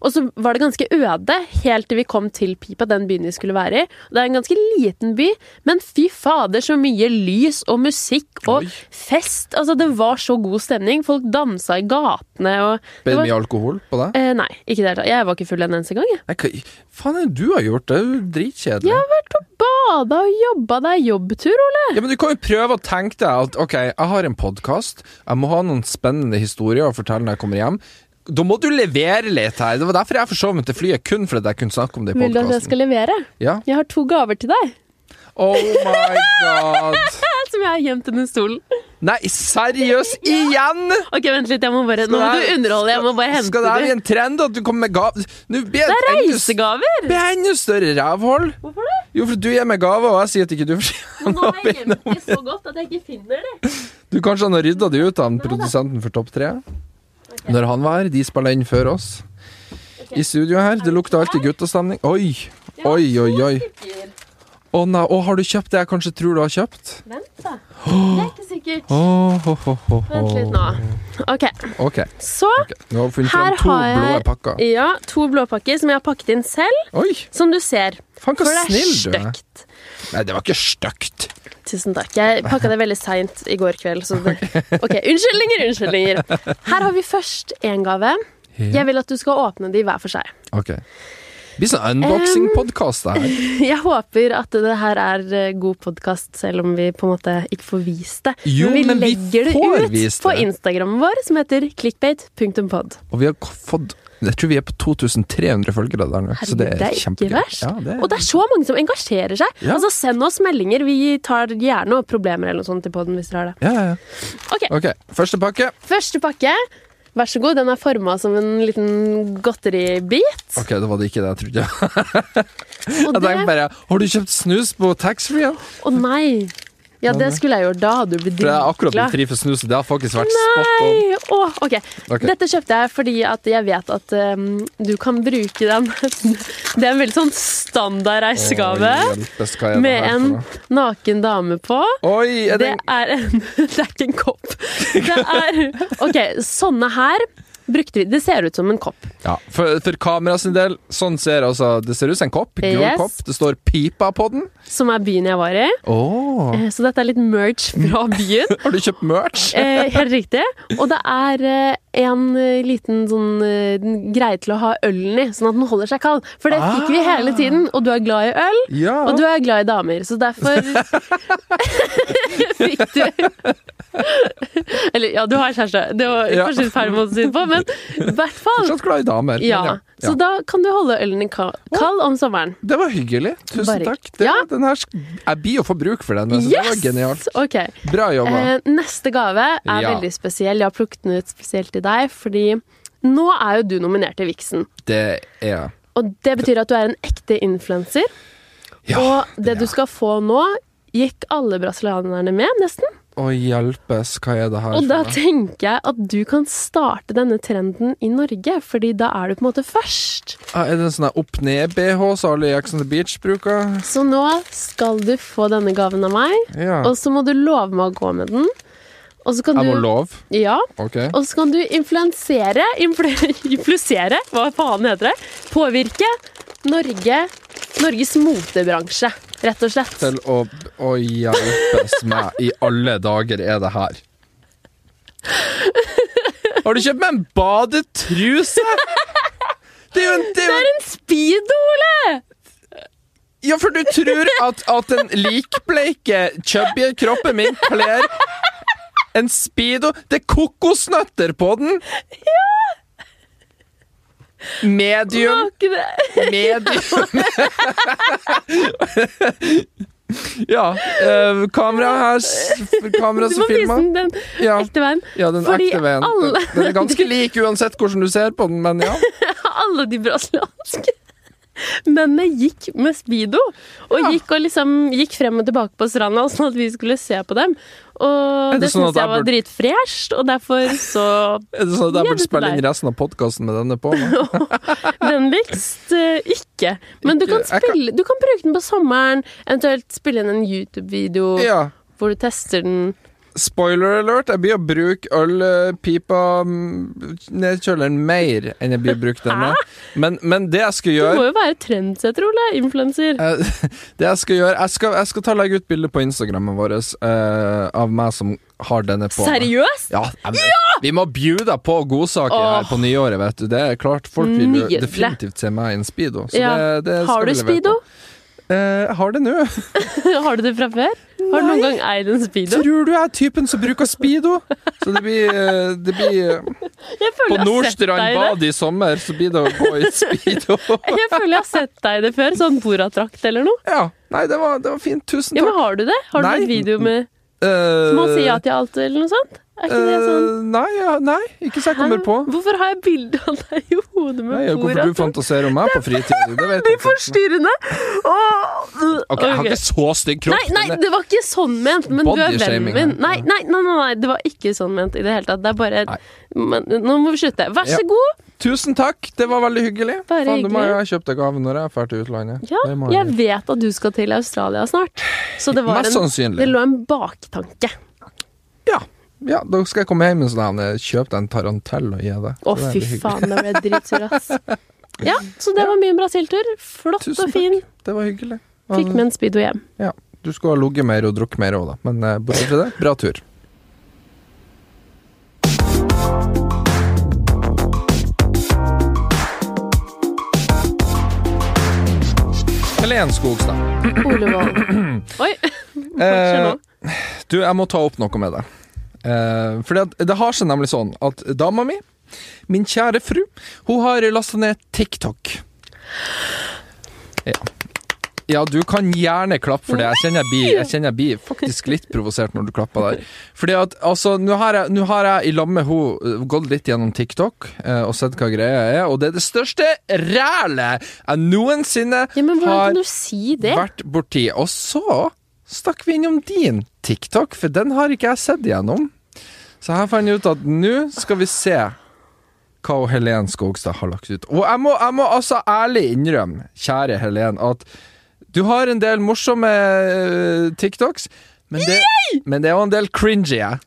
Speaker 2: Og så var det ganske øde helt til vi kom til Pipa, den byen vi skulle være i. Og det er en ganske liten by, men fy fader, så mye lys og musikk og
Speaker 1: Oi.
Speaker 2: fest. Altså, det var så god stemning. Folk dansa i gatene og
Speaker 1: Ble
Speaker 2: det
Speaker 1: det
Speaker 2: var,
Speaker 1: mye alkohol på deg?
Speaker 2: eh, Nei, ikke i det hele tatt. Jeg var ikke full en eneste gang, jeg.
Speaker 1: Nei, hva faen er det du har gjort? Det er jo dritkjedelig. Ja.
Speaker 2: Bada og jobba, det er jobbtur, Ole.
Speaker 1: men du kan jo prøve å tenke deg at ok, jeg har en podkast, jeg må ha noen spennende historier å fortelle når jeg kommer hjem. Da må du levere litt her. Det var derfor jeg forsov meg til flyet, kun for at jeg kunne snakke om det i
Speaker 2: Vil du at jeg
Speaker 1: podkasten.
Speaker 2: skal levere?
Speaker 1: Ja.
Speaker 2: Jeg har to gaver til deg.
Speaker 1: Oh my god.
Speaker 2: [LAUGHS] Som jeg har gjemt under stolen.
Speaker 1: Nei, seriøst? Igjen?!
Speaker 2: Ok, vent litt, jeg må bare, nå må
Speaker 1: Skal det
Speaker 2: du
Speaker 1: her-
Speaker 2: underholde, jeg må bare hente
Speaker 1: Skal det her bli
Speaker 2: det.
Speaker 1: en trend at du kommer med gav... Nå blir jeg
Speaker 2: Det
Speaker 1: et
Speaker 2: er
Speaker 1: enda s-
Speaker 2: reisegaver!
Speaker 1: blir jeg enda større rævhold.
Speaker 2: Hvorfor det?
Speaker 1: Jo, for du gir meg gave, og jeg sier at ikke du får
Speaker 2: Men nå har jeg gjemt det så godt at jeg ikke finner det.
Speaker 1: Du, Kanskje han har rydda det ut, han produsenten for Topp 3. Når han var her. De spiller inn før oss. I studio her. Det lukter alltid guttastemning. Oi, oi, oi. oi. Å nei, å, har du kjøpt det jeg kanskje tror du har kjøpt?
Speaker 2: Vent, da. Det er ikke sikkert.
Speaker 1: Åh, ho, ho, ho, ho.
Speaker 2: Vent litt nå. Ok,
Speaker 1: Ok,
Speaker 2: så
Speaker 1: ok. Nå har vi funnet
Speaker 2: Her
Speaker 1: fram to
Speaker 2: har jeg-
Speaker 1: blå pakker.
Speaker 2: Ja, to blåpakker som jeg har pakket inn selv,
Speaker 1: Oi!
Speaker 2: som du ser.
Speaker 1: Faen,
Speaker 2: For
Speaker 1: så
Speaker 2: det er
Speaker 1: snill du er.
Speaker 2: stygt.
Speaker 1: Nei, det var ikke stygt.
Speaker 2: Tusen takk. Jeg pakka det veldig seint i går kveld. Så
Speaker 1: [LAUGHS]
Speaker 2: det... Ok, unnskyldninger, unnskyldninger. Her har vi først én gave. Jeg vil at du skal åpne de hver for seg.
Speaker 1: Ok. Det blir sånn unboxing-podkast, det her.
Speaker 2: [LAUGHS] Jeg håper at det her er eh, god podkast, selv om vi på en måte ikke får vist det.
Speaker 1: Jo, men vi
Speaker 2: legger
Speaker 1: får
Speaker 2: det
Speaker 1: vist
Speaker 2: ut på
Speaker 1: det.
Speaker 2: Instagrammen vår, som heter clickbait.pod.
Speaker 1: Og vi har k- fått Jeg tror vi er på 2300 følgere der nå. Så
Speaker 2: Herregud,
Speaker 1: det er,
Speaker 2: ikke
Speaker 1: kjempegøy.
Speaker 2: verst.
Speaker 1: Ja, det er-
Speaker 2: Og det er så mange som engasjerer seg.
Speaker 1: Ja.
Speaker 2: Altså, Send oss meldinger. Vi tar gjerne opp problemer eller noe sånt til poden hvis dere har det.
Speaker 1: ja, ja, ja.
Speaker 2: Ok,
Speaker 1: Ok, første pakke.
Speaker 2: Første pakke. Vær så god. Den er forma som en liten godteribit.
Speaker 1: Ok, da var det ikke det jeg trodde.
Speaker 2: Og
Speaker 1: [LAUGHS] Jeg tenkte
Speaker 2: det
Speaker 1: bare Har du kjøpt snus på taxfree-en?
Speaker 2: Å nei! Ja, det skulle jeg gjort. Da hadde du blitt
Speaker 1: For jeg er akkurat
Speaker 2: dritglad.
Speaker 1: blitt fri for snus, og det har faktisk vært spot on.
Speaker 2: Nei! Åh, ok.
Speaker 1: Ok.
Speaker 2: Dette kjøpte jeg fordi at jeg vet at um, du kan bruke den. [LAUGHS] Det er en veldig sånn standard reisegave
Speaker 1: Å, hjelpes, hva er det
Speaker 2: med
Speaker 1: her
Speaker 2: en
Speaker 1: for noe?
Speaker 2: naken dame på.
Speaker 1: Oi, er det
Speaker 2: [LAUGHS] Det er en Det er ikke en kopp. Det er Ok, sånne her. brukte vi Det ser ut som en kopp.
Speaker 1: Ja, for, for kamera sin del, sånn ser altså Det ser ut som en kopp. Gul
Speaker 2: Yes.
Speaker 1: kopp. Det står 'Pipa' på den.
Speaker 2: Som er byen jeg var i.
Speaker 1: Oh.
Speaker 2: Eh, Så dette er litt merch fra byen.
Speaker 1: Har du kjøpt merch?
Speaker 2: Eh, helt riktig. Og det er eh, en eh, liten sånn eh, den- greie til å ha ølen i, sånn at den holder seg kald. For det fikk vi
Speaker 1: Ah.
Speaker 2: hele tiden. Og du er glad i øl,
Speaker 1: Ja.
Speaker 2: og du er glad i damer.
Speaker 1: [LAUGHS]
Speaker 2: Så derfor [LAUGHS] fikk du Eller ja, du har kjæreste. Det var
Speaker 1: Ja.
Speaker 2: kanskje feil måte å si det på, men i hvert fall.
Speaker 1: Fortsatt glad i damer. men
Speaker 2: Ja. Så da kan du holde ølen din ka- kald om sommeren.
Speaker 1: Det var hyggelig. Tusen
Speaker 2: Bare-
Speaker 1: takk. Det,
Speaker 2: Ja.
Speaker 1: den her, sk- jeg blir jo for bruk for den. Altså. Det var genialt.
Speaker 2: Ok.
Speaker 1: Bra jobba.
Speaker 2: Eh, neste gave er
Speaker 1: Ja.
Speaker 2: veldig spesiell. Jeg har plukket den ut spesielt til deg, fordi nå er jo du nominert til Vixen.
Speaker 1: det er
Speaker 2: Og det betyr at du er en ekte influenser.
Speaker 1: Ja.
Speaker 2: og det du
Speaker 1: ja.
Speaker 2: skal få nå, gikk alle brasilianerne med, nesten.
Speaker 1: Å hjelpes, hva er det her?
Speaker 2: Og
Speaker 1: for
Speaker 2: da
Speaker 1: noe?
Speaker 2: tenker jeg at du kan starte denne trenden i Norge, fordi da er du på en måte først.
Speaker 1: Ah, er det en sånn her opp-ned-BH som alle i Ex on the Beach bruker?
Speaker 2: Så nå skal du få denne gaven av meg,
Speaker 1: Ja.
Speaker 2: og så må du love meg å gå med den. Og så kan
Speaker 1: Jeg må
Speaker 2: du
Speaker 1: lov.
Speaker 2: Ja.
Speaker 1: Ok.
Speaker 2: Og så kan du influensere influ, [LAUGHS] Influsere, hva faen heter det? Påvirke Norge Norges motebransje, rett og slett.
Speaker 1: Til å, å hjelpes meg. I alle dager er det her. Har du kjøpt meg en badetruse? Det er jo en, det er jo en
Speaker 2: En speedo, Ole!
Speaker 1: Ja, for du tror at, at den likbleike, chubby kroppen min kler en speedo Det er kokosnøtter på den! Ja!
Speaker 2: Var
Speaker 1: Medium.
Speaker 2: ikke det?
Speaker 1: Medium. [LAUGHS] ja. eh, kamera her. s- Kamera
Speaker 2: Du
Speaker 1: som
Speaker 2: må vise
Speaker 1: filmer.
Speaker 2: den den
Speaker 1: Ja.
Speaker 2: ekte veien. [LAUGHS]
Speaker 1: Ja, den
Speaker 2: Fordi
Speaker 1: ekte veien. Den-
Speaker 2: alle-
Speaker 1: Den er ganske lik uansett hvordan du ser på den,
Speaker 2: [LAUGHS]
Speaker 1: men ja.
Speaker 2: Alle de brasilianske [LAUGHS] mennene gikk med speedo. Og
Speaker 1: Ja.
Speaker 2: gikk, og liksom, gikk frem og tilbake på stranda [LAUGHS] sånn at vi skulle se på dem. Og
Speaker 1: Er
Speaker 2: det,
Speaker 1: det
Speaker 2: synes
Speaker 1: sånn at jeg
Speaker 2: jeg var
Speaker 1: burde-
Speaker 2: dritfresht, og derfor så
Speaker 1: Er det sånn at jeg
Speaker 2: Ja, det
Speaker 1: burde
Speaker 2: er
Speaker 1: spille inn
Speaker 2: deg.
Speaker 1: resten av podkasten med denne på?
Speaker 2: [LAUGHS]
Speaker 1: nå?
Speaker 2: Vennligst eh, ikke. Men du
Speaker 1: Ikke. Jeg kan-
Speaker 2: kan, spille, du kan bruke den på sommeren, eventuelt spille inn en YouTube-video
Speaker 1: Ja.
Speaker 2: hvor du tester den.
Speaker 1: Spoiler alert, jeg blir å bruke ølpipa mm, ned i kjøleren mer enn jeg blir å bruke den med. Men, men det jeg skal
Speaker 2: Du
Speaker 1: gjøre
Speaker 2: må jo være trendsetter, Ole. Influenser.
Speaker 1: eh, [LAUGHS] Det jeg skal gjøre Jeg skal, jeg skal ta og legge ut bilde på Instagrammen vår eh, av meg som har denne på. meg.
Speaker 2: Seriøst?
Speaker 1: Ja, jeg- Vi må bjuda på godsaker her på nyåret, vet du. Det er klart, Folk vil jo
Speaker 2: Nydelig.
Speaker 1: definitivt se meg i en speedo. Så
Speaker 2: Ja.
Speaker 1: det, det skal
Speaker 2: Har du
Speaker 1: vi levere
Speaker 2: speedo?
Speaker 1: på. Eh, jeg har det nå.
Speaker 2: [LAUGHS] Har du det fra før? Har du noen gang eid en speedo?
Speaker 1: Tror du jeg er typen som bruker speedo? Så det blir, eh, det blir eh,
Speaker 2: Jeg føler
Speaker 1: På
Speaker 2: jeg har sett deg
Speaker 1: Nordstrand
Speaker 2: i det.
Speaker 1: bad i sommer, så blir det å gå i speedo.
Speaker 2: [LAUGHS] Jeg føler jeg har sett deg i det før, sånn Borat-drakt eller noe.
Speaker 1: Ja, nei, det var, det var fint. Tusen
Speaker 2: Ja, men
Speaker 1: takk.
Speaker 2: Har du det? Har du
Speaker 1: Nei.
Speaker 2: en video med
Speaker 1: Eh,
Speaker 2: Man sier ja til alt eller noe sånt? Er ikke det sånn?
Speaker 1: eh, nei, ja, nei, ikke så jeg kommer
Speaker 2: Hæ?
Speaker 1: på.
Speaker 2: Hvorfor har jeg bilde av deg i hodet med
Speaker 1: Nei, hvorfor du
Speaker 2: Borat?
Speaker 1: fantaserer om meg på fritiden, [LAUGHS] det vet jeg ikke.
Speaker 2: Forstyrrende! Åh!
Speaker 1: Ok, jeg har ikke så stygg kropp.
Speaker 2: Nei, nei,
Speaker 1: men-
Speaker 2: det var ikke sånn ment, men du er vennen
Speaker 1: Bodyshaming her.
Speaker 2: min. Nei, nei, nei, nei, nei, det var ikke sånn ment i det hele tatt. Det er bare
Speaker 1: Nei.
Speaker 2: men, Nå må vi slutte. Vær
Speaker 1: Ja.
Speaker 2: så god!
Speaker 1: eh, Tusen takk, det var veldig hyggelig.
Speaker 2: Bare
Speaker 1: Faen, du må
Speaker 2: hyggelig.
Speaker 1: jo ha kjøpt deg gave når jeg drar til utlandet.
Speaker 2: Ja,
Speaker 1: Det må
Speaker 2: jeg
Speaker 1: jeg.
Speaker 2: vet at du skal til Australia snart, så det var
Speaker 1: Mest
Speaker 2: en
Speaker 1: sannsynlig.
Speaker 2: Det lå en baktanke.
Speaker 1: Ja. ja, da skal jeg komme hjem med sånn her, kjøp deg en tarantell og gi deg.
Speaker 2: Å,
Speaker 1: Så det er
Speaker 2: fy
Speaker 1: veldig hyggelig.
Speaker 2: faen, da ble jeg dritsur,
Speaker 1: [LAUGHS]
Speaker 2: ass. Ja, så det var min Brasil-tur. Flott
Speaker 1: Tusen
Speaker 2: og fin.
Speaker 1: takk, det var hyggelig.
Speaker 2: Fikk med en speedo
Speaker 1: [CLEARS THROAT]
Speaker 2: hjem.
Speaker 1: Ja, du skulle ha ligget mer og drukket mer òg, da. Men eh, bortsett fra det, bra tur. Helen Skogstad,
Speaker 2: Ole Wold. Oi! [LAUGHS] Fortsett
Speaker 1: Eh,
Speaker 2: nå.
Speaker 1: du, jeg må ta opp noe med deg. Eh, fordi at det har seg nemlig sånn at dama mi, min kjære fru, hun har lasta ned TikTok. Ja. ja, du kan gjerne klappe for det. Jeg kjenner jeg blir, jeg kjenner jeg blir faktisk litt provosert når du klapper der. Fordi at, altså, nå har jeg, nå har jeg i lag med henne gått litt gjennom TikTok eh, og sett hva greia er, og det er det største rælet jeg noensinne
Speaker 2: Ja, men hvordan
Speaker 1: har
Speaker 2: kan du si det?
Speaker 1: vært borti. Og så stakk vi innom din TikTok, for den har ikke jeg sett igjennom. Så her fant jeg ut at nå skal vi se hva hun Helen Skogstad har lagt ut. Og jeg må, jeg må altså ærlig innrømme, kjære Helen, at du har en del morsomme eh, TikToks, Men det, men det er jo en del cringy, jeg.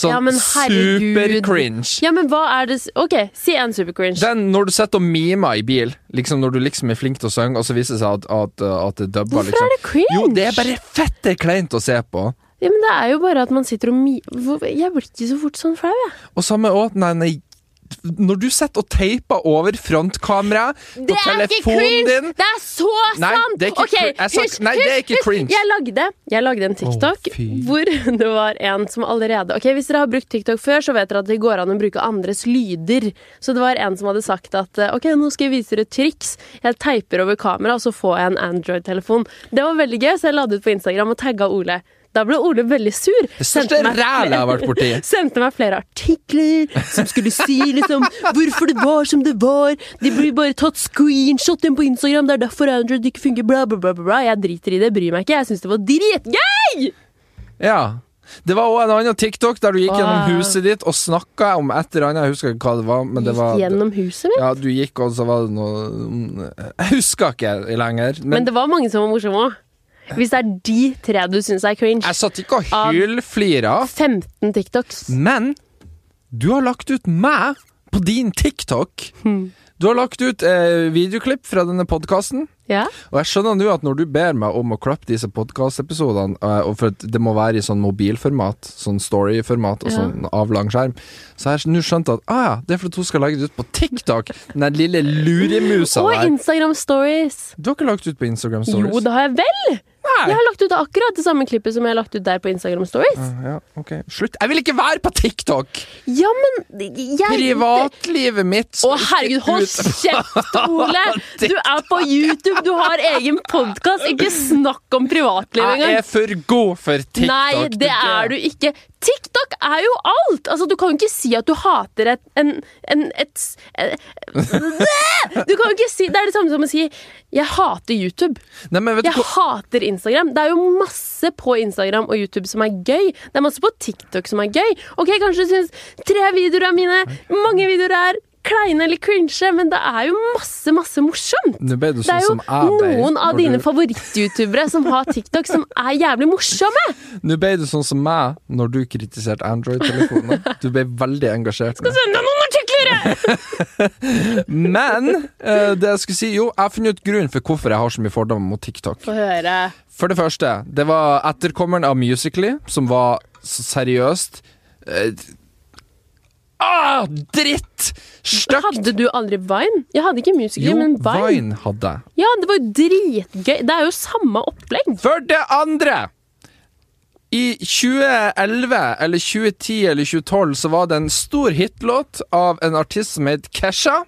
Speaker 1: Sånn
Speaker 2: Ah, ja, men herregud.
Speaker 1: super-cringe.
Speaker 2: Ja, men hva er det s- Ok, si en supercringe.
Speaker 1: Den når du sitter og mimer i bil, liksom når du liksom er flink til å synge, og så viser det seg at, at, at det dubber,
Speaker 2: Hvorfor er
Speaker 1: liksom.
Speaker 2: det cringe?
Speaker 1: Jo, det er bare fette kleint å se på.
Speaker 2: Ja, men det er jo bare at man sitter og mi... Hvor- Jeg blir ikke så fort sånn flau, jeg.
Speaker 1: Og samme òg Nei, nei. Når du sitter og teiper over frontkameraet på
Speaker 2: Det er ikke
Speaker 1: telefonen
Speaker 2: cringe!
Speaker 1: din
Speaker 2: Det er så
Speaker 1: Nei,
Speaker 2: sant!
Speaker 1: det er ikke
Speaker 2: Ok,
Speaker 1: cringe. Jeg sa-
Speaker 2: hysj,
Speaker 1: nei, det er
Speaker 2: hysj,
Speaker 1: ikke
Speaker 2: hysj.
Speaker 1: cringe.
Speaker 2: Jeg lagde, jeg lagde en TikTok
Speaker 1: Å, fy.
Speaker 2: hvor [LAUGHS] det var en som allerede Ok, Hvis dere har brukt TikTok før, så vet dere at det går an å bruke andres lyder. Så det var en som hadde sagt at eh, ok, nå skal jeg vise dere et triks. Jeg teiper over kamera, og så får jeg en Android-telefon. Det var veldig gøy, så jeg la det ut på Instagram og tagga Ole. Da ble Ole veldig sur.
Speaker 1: Det største
Speaker 2: Sendte meg-
Speaker 1: rælet jeg har vært borti.
Speaker 2: sendte meg flere artikler som skulle si liksom hvorfor det var som det var. De blir bare tatt screenshot inn på Instagram, det er derfor Android ikke fungerer, bla, bla, bla. bla, bla. Jeg driter i det, bryr meg ikke. Jeg syns det var dritgøy!
Speaker 1: Ja. Det var òg en annen TikTok der du gikk
Speaker 2: Wow.
Speaker 1: gjennom huset ditt og snakka om et eller annet. Jeg husker ikke hva det var. Men det var
Speaker 2: Gikk gjennom huset mitt.
Speaker 1: ja, du gikk, og så var det noe mm, Jeg husker ikke lenger. Men,
Speaker 2: Men det var mange som var morsomme òg. Hvis det er de tre du syns er cringe.
Speaker 1: jeg satt ikke og hylflira.
Speaker 2: 15 TikToks.
Speaker 1: Men du har lagt ut meg på din TikTok.
Speaker 2: Hmm.
Speaker 1: Du har lagt ut eh, videoklipp fra denne podkasten.
Speaker 2: Ja.
Speaker 1: Og jeg skjønner nå at når du ber meg om å klappe disse podkastepisodene, eh, og for at det må være i sånn mobilformat, sånn storyformat og
Speaker 2: Ja.
Speaker 1: sånn avlang skjerm, så har jeg nå skjønt at ah, ja, det er fordi hun skal legge det ut på TikTok, den der lille luremusa
Speaker 2: Og
Speaker 1: der.
Speaker 2: Instagram stories.
Speaker 1: Du har ikke lagt ut på Instagram Stories?
Speaker 2: Jo, det har jeg vel! Jeg
Speaker 1: Nei.
Speaker 2: har lagt ut akkurat det samme klippet som jeg har lagt ut der på Instagram stories.
Speaker 1: Ja, ok. Slutt. Jeg vil ikke være på TikTok!
Speaker 2: Ja, men jeg
Speaker 1: Privatlivet mitt skal
Speaker 2: Å,
Speaker 1: ikke
Speaker 2: herregud, hold
Speaker 1: ut.
Speaker 2: kjeft, Ole! Du er på YouTube, du har egen podkast. Ikke snakk om privatliv
Speaker 1: Jeg er
Speaker 2: engang.
Speaker 1: for god for TikTok.
Speaker 2: Nei, det er du ikke. TikTok er jo alt! Altså, Du kan jo ikke si at du hater et en, en, et, s- eh, [LAUGHS] Du kan jo ikke si Det er det samme som å si 'jeg hater YouTube'.
Speaker 1: Nei, men vet du
Speaker 2: Jeg hater Instagram. Det er jo masse på Instagram og YouTube som er gøy. Det er masse på TikTok som er gøy. Ok, Kanskje du syns tre videoer er mine, mange videoer er kleine eller cringe, men det er jo masse, masse morsomt.
Speaker 1: Nå ble du
Speaker 2: Det
Speaker 1: sånn
Speaker 2: er jo
Speaker 1: som jeg ble.
Speaker 2: noen av
Speaker 1: når
Speaker 2: dine
Speaker 1: du-
Speaker 2: favoritt-youtubere som har TikTok, som er jævlig morsomme.
Speaker 1: Nå ble du sånn som meg når du kritiserte Android-telefoner. Du ble veldig engasjert. nå.
Speaker 2: Send deg noen artikler! jeg!
Speaker 1: Men eh, det jeg skulle si, jo, jeg har funnet ut grunnen for hvorfor jeg har så mye fordommer mot TikTok.
Speaker 2: Få høre.
Speaker 1: For det første, det var etterkommeren av Musically, som var så seriøst eh, Ah, dritt! Støkk!
Speaker 2: Hadde du aldri Vine? Jeg hadde ikke Musical.ly,
Speaker 1: Jo,
Speaker 2: men Vine.
Speaker 1: Vine hadde jeg.
Speaker 2: Ja, det var jo dritgøy. Det er jo samme opplegg.
Speaker 1: For det andre I 2011 eller 2010 eller 2012 så var det en stor hitlåt av en artist som het Kesha.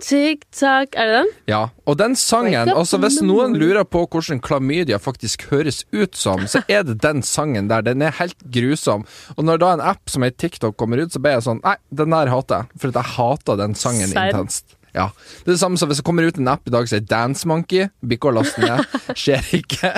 Speaker 2: TikTok, er det den?
Speaker 1: Ja, og den sangen
Speaker 2: Wake up
Speaker 1: Altså Hvis
Speaker 2: in the
Speaker 1: noen
Speaker 2: morning.
Speaker 1: lurer på hvordan klamydia faktisk høres ut som, så er det den sangen der. Den er helt grusom. Og når da en app som heter TikTok kommer ut, så blir jeg sånn Nei, den der hater jeg. For at jeg hater den sangen
Speaker 2: Serr.
Speaker 1: intenst. Ja. Det er det samme som hvis det kommer ut en app i dag som heter Dance Monkey. Bikkja laster
Speaker 2: [LAUGHS]
Speaker 1: ned. Skjer ikke.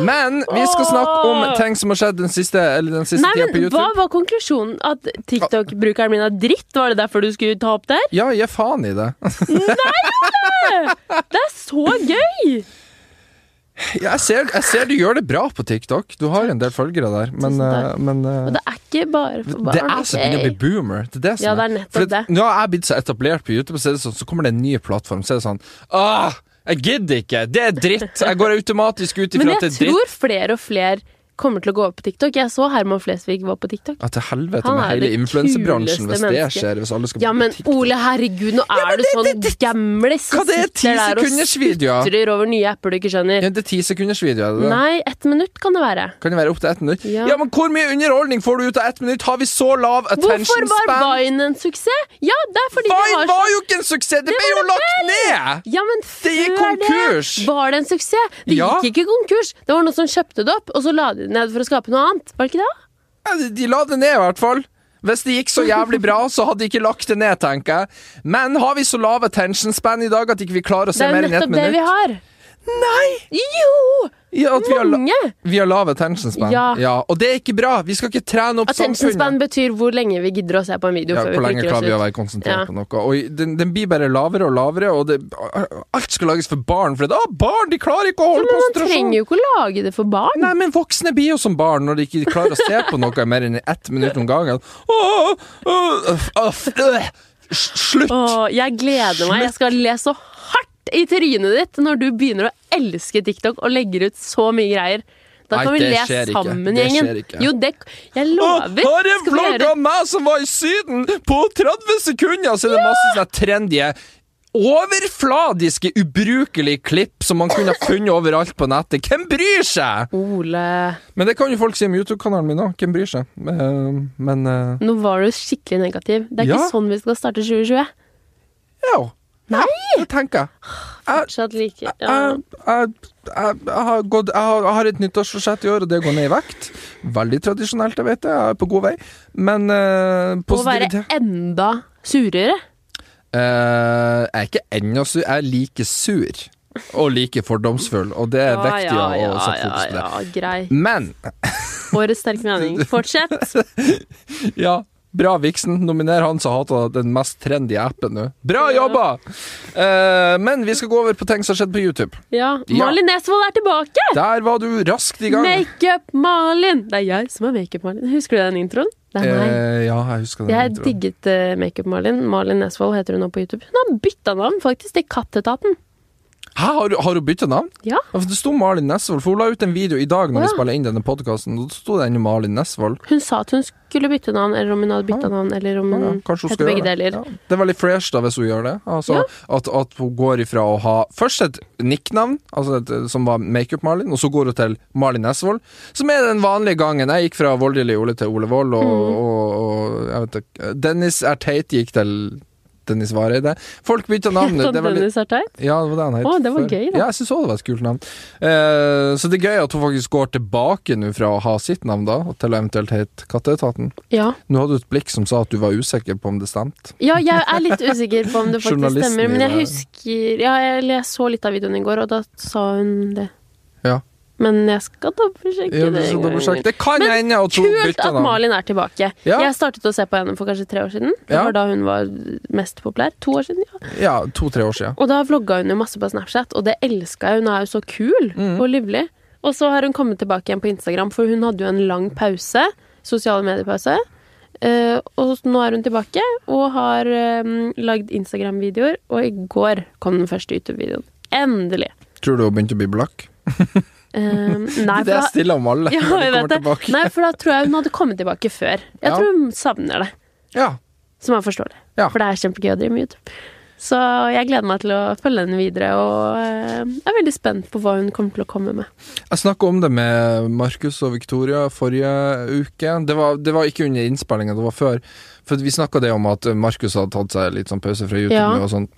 Speaker 1: Men vi skal snakke om ting som har skjedd den siste, eller den siste
Speaker 2: Nei,
Speaker 1: tida på
Speaker 2: men
Speaker 1: YouTube.
Speaker 2: Hva var konklusjonen? At TikTok-brukeren min er dritt? Var det derfor du skulle ta opp der?
Speaker 1: Ja, gi faen i det. [LAUGHS]
Speaker 2: Det er så gøy!
Speaker 1: Jeg ser, jeg ser du gjør det bra på TikTok. Du har en del følgere der, men,
Speaker 2: Tusen takk.
Speaker 1: eh, men eh,
Speaker 2: Og det er ikke bare for barn.
Speaker 1: Det er som begynner å bli
Speaker 2: ok?
Speaker 1: boomer. Det er det som
Speaker 2: Ja, det er nettopp
Speaker 1: For at
Speaker 2: det.
Speaker 1: Nå har jeg blitt så etablert på YouTube, så, er det sånn, så kommer det en ny plattform. Så er det sånn Åh, jeg gidder ikke! Det er dritt! Jeg går automatisk ut
Speaker 2: Men
Speaker 1: ifra at det
Speaker 2: jeg
Speaker 1: er dritt.
Speaker 2: tror flere og flere kommer til å gå over på TikTok. Jeg så Herman Flesvig var på TikTok.
Speaker 1: Ja, til helvete
Speaker 2: Han
Speaker 1: med
Speaker 2: er
Speaker 1: hele
Speaker 2: det
Speaker 1: influensebransjen, hvis
Speaker 2: kuleste
Speaker 1: det
Speaker 2: mennesket.
Speaker 1: skjer. Hvis alle skal
Speaker 2: Ja,
Speaker 1: på
Speaker 2: men
Speaker 1: TikTok.
Speaker 2: Ole, herregud, nå er du sånn gamlis
Speaker 1: Hva
Speaker 2: som
Speaker 1: det er, ti
Speaker 2: sitter der og
Speaker 1: sekunders videoer?
Speaker 2: sutrer over nye apper du ikke skjønner.
Speaker 1: Ja, det er ti sekunders video, er det det?
Speaker 2: Nei, ett minutt kan det være.
Speaker 1: Kan det være opp til ett minutt? Ja.
Speaker 2: Ja.
Speaker 1: men hvor mye underholdning får du ut av ett minutt? Har vi så lav
Speaker 2: Hvorfor
Speaker 1: attention
Speaker 2: var
Speaker 1: span?
Speaker 2: Vine en suksess? Ja, det er fordi det
Speaker 1: Vine
Speaker 2: har så
Speaker 1: var jo ikke en suksess! Det ble jo lagt ned!
Speaker 2: Ja, men
Speaker 1: Det gikk
Speaker 2: før
Speaker 1: konkurs!
Speaker 2: det var det en suksess. Det
Speaker 1: Ja.
Speaker 2: gikk ikke konkurs. Det var noen som kjøpte det opp, og så la de det ned for å skape noe annet. Var det ikke det?
Speaker 1: Ja, de- De la det ned, i hvert fall. Hvis det gikk så jævlig bra, så hadde de ikke lagt det ned, tenker jeg. Men har vi så lav attention span i dag at ikke vi klarer å se
Speaker 2: Det er
Speaker 1: mer
Speaker 2: jo
Speaker 1: enn ett
Speaker 2: nettopp det
Speaker 1: minutt?
Speaker 2: vi har.
Speaker 1: Nei!
Speaker 2: Jo!
Speaker 1: Ja, at vi har, la-
Speaker 2: Mange!
Speaker 1: vi har lav attention span.
Speaker 2: Ja.
Speaker 1: og det er ikke bra! Vi skal ikke trene opp
Speaker 2: Attention span
Speaker 1: samfunnet.
Speaker 2: betyr hvor lenge vi gidder å se på en video
Speaker 1: Ja,
Speaker 2: før
Speaker 1: hvor
Speaker 2: vi
Speaker 1: lenge
Speaker 2: klikker oss
Speaker 1: klarer vi å
Speaker 2: ut.
Speaker 1: være konsentrert
Speaker 2: Ja.
Speaker 1: på noe? Og den, den blir bare lavere og lavere, og det, alt skal lages for barn. For det, ah, barn de klarer ikke å
Speaker 2: Ja,
Speaker 1: holde
Speaker 2: men man
Speaker 1: konsentrasjon!
Speaker 2: trenger jo ikke å lage det for barn.
Speaker 1: Nei, men voksne blir jo som barn når de ikke klarer å se på noe mer enn ett minutt om gangen. Åh, åh, øh, øh, øh, Slutt!
Speaker 2: Åh, jeg gleder meg. Jeg skal le så hardt i trynet ditt når du begynner å elske TikTok og legger ut så mye greier. Da
Speaker 1: Nei,
Speaker 2: kan vi
Speaker 1: det
Speaker 2: le
Speaker 1: skjer ikke.
Speaker 2: sammen,
Speaker 1: Det
Speaker 2: gjengen.
Speaker 1: skjer ikke.
Speaker 2: Jo, det Jeg
Speaker 1: Åh,
Speaker 2: lover.
Speaker 1: Har en
Speaker 2: Skal vi
Speaker 1: vlogg
Speaker 2: gjøre
Speaker 1: av meg som var i Syden! På 30 sekunder så er det masse sånne trendy Overfladiske, ubrukelige klipp som man kunne ha funnet overalt på nettet. Hvem bryr seg?!
Speaker 2: Ole,
Speaker 1: Men det kan jo folk si om YouTube-kanalen min òg. Hvem bryr seg? Eh, Men eh,
Speaker 2: nå var du skikkelig negativ. Det er
Speaker 1: Ja.
Speaker 2: ikke sånn vi skal starte 2020.
Speaker 1: ja. Nei! Det tenker jeg. Ah,
Speaker 2: Fortsatt like ja.
Speaker 1: jeg, jeg, jeg, jeg, har gått, jeg, har, jeg har et nyttårsforsett i år, og det er å gå ned i vekt. Veldig tradisjonelt, jeg vet det. Jeg er på god vei. Men eh,
Speaker 2: Å være
Speaker 1: positivitet
Speaker 2: enda surere.
Speaker 1: Eh, Jeg er ikke ennå sur. Jeg er like sur og like fordomsfull, og det er viktig å- å sette fokus på det.
Speaker 2: ja, grei.
Speaker 1: Men
Speaker 2: Årets sterke
Speaker 1: [LAUGHS]
Speaker 2: mening. Fortsett.
Speaker 1: ja, bra Viksen. Nominer han som hater den mest trendy appen nå. Bra
Speaker 2: Ja.
Speaker 1: jobba! Eh, men vi skal gå over på ting som har skjedd på YouTube.
Speaker 2: Ja.
Speaker 1: [LAUGHS] Ja.
Speaker 2: Malin Nesvold er tilbake!
Speaker 1: Der var du raskt i gang.
Speaker 2: Makeup-Malin! Det er jeg som er Makeup-Malin. Husker du den introen? Det er meg.
Speaker 1: Eh, ja, jeg husker den.
Speaker 2: Jeg
Speaker 1: introen.
Speaker 2: digget eh, Makeup-Malin. Malin Nesvold heter hun nå på YouTube. Hun har bytta navn, faktisk, til Kattetaten.
Speaker 1: Hæ, har, du- har hun bytta navn?
Speaker 2: Ja.
Speaker 1: Ja, for Det sto Malin Nesvold, for hun la ut en video i dag når
Speaker 2: Å,
Speaker 1: vi
Speaker 2: ja.
Speaker 1: spiller inn denne podkasten. Da sto det ennå Malin Nesvold.
Speaker 2: Hun sa at hun skulle bytte navn, eller om hun hadde bytta navn, eller om
Speaker 1: Ah. Ja, ja,
Speaker 2: hun
Speaker 1: kanskje hun
Speaker 2: Mm. heter
Speaker 1: skal
Speaker 2: begge
Speaker 1: gjøre det.
Speaker 2: deler.
Speaker 1: Ja. Det er veldig fresh da hvis hun gjør det. Altså, at, at hun går ifra å ha først et nicknavn, altså et, som var Makeup-Malin, og så går hun til Malin Nesvold, som er den vanlige gangen. Jeg gikk fra voldelig Ole til Ole Vold, og,
Speaker 2: Mm.
Speaker 1: og, og jeg vet ikke Dennis R. Tate gikk til Dennis Vareide. Folk bytta navn.
Speaker 2: [LAUGHS] Sånn
Speaker 1: Det er veldig
Speaker 2: Dennis er teit.
Speaker 1: ja, det var det han het.
Speaker 2: Å, det var
Speaker 1: før.
Speaker 2: gøy, da.
Speaker 1: Ja, jeg synes også det var et kult navn. Eh, så det er gøy at hun faktisk går tilbake nå fra å ha sitt navn da, til å eventuelt hete Katteetaten.
Speaker 2: Ja.
Speaker 1: Nå hadde du et blikk som sa at du var usikker på om det stemte.
Speaker 2: ja, jeg er litt usikker på om det faktisk
Speaker 1: Journalisten
Speaker 2: stemmer, men
Speaker 1: i
Speaker 2: jeg
Speaker 1: det.
Speaker 2: husker Ja, jeg, jeg så litt av videoen i går, og da sa hun det.
Speaker 1: Ja.
Speaker 2: Men jeg skal dobbeltsjekke
Speaker 1: Ja,
Speaker 2: det.
Speaker 1: så
Speaker 2: en
Speaker 1: da
Speaker 2: gang
Speaker 1: ble
Speaker 2: til.
Speaker 1: sagt, Det kan
Speaker 2: Men
Speaker 1: hende at hun
Speaker 2: Kult
Speaker 1: bytta
Speaker 2: at
Speaker 1: navn.
Speaker 2: Malin er tilbake.
Speaker 1: Ja.
Speaker 2: Jeg startet å se på henne for kanskje tre år siden. Det
Speaker 1: Ja.
Speaker 2: var da hun var mest populær. To år siden, ja.
Speaker 1: Ja, to-tre år siden.
Speaker 2: Og da vlogga hun jo masse på Snapchat, og det elska jeg. Hun er jo så kul
Speaker 1: Mm.
Speaker 2: og livlig. Og så har hun kommet tilbake igjen på Instagram, for hun hadde jo en lang pause. Sosiale mediepause. Eh, og nå er hun tilbake og har eh, lagd Instagram-videoer, og i går kom den første YouTube-videoen. Endelig.
Speaker 1: Tror du hun begynte å bli blakk? [LAUGHS]
Speaker 2: Eh, nei,
Speaker 1: det er
Speaker 2: for da,
Speaker 1: stille om alle
Speaker 2: ja,
Speaker 1: når de
Speaker 2: jeg
Speaker 1: kommer
Speaker 2: vet det.
Speaker 1: tilbake.
Speaker 2: nei, for da tror jeg hun hadde kommet tilbake før. Jeg
Speaker 1: Ja.
Speaker 2: tror hun savner det.
Speaker 1: Ja.
Speaker 2: Så man forstår det.
Speaker 1: Ja.
Speaker 2: For det er kjempegøy å drive med YouTube. Så jeg gleder meg til å følge henne videre, og eh, jeg er veldig spent på hva hun kommer til å komme med.
Speaker 1: Jeg snakka om det med Markus og Victoria forrige uke. Det var, det var ikke under innspillinga, det var før. For vi snakka det om at Markus hadde tatt seg litt sånn pause fra YouTube.
Speaker 2: Ja.
Speaker 1: Og sånn.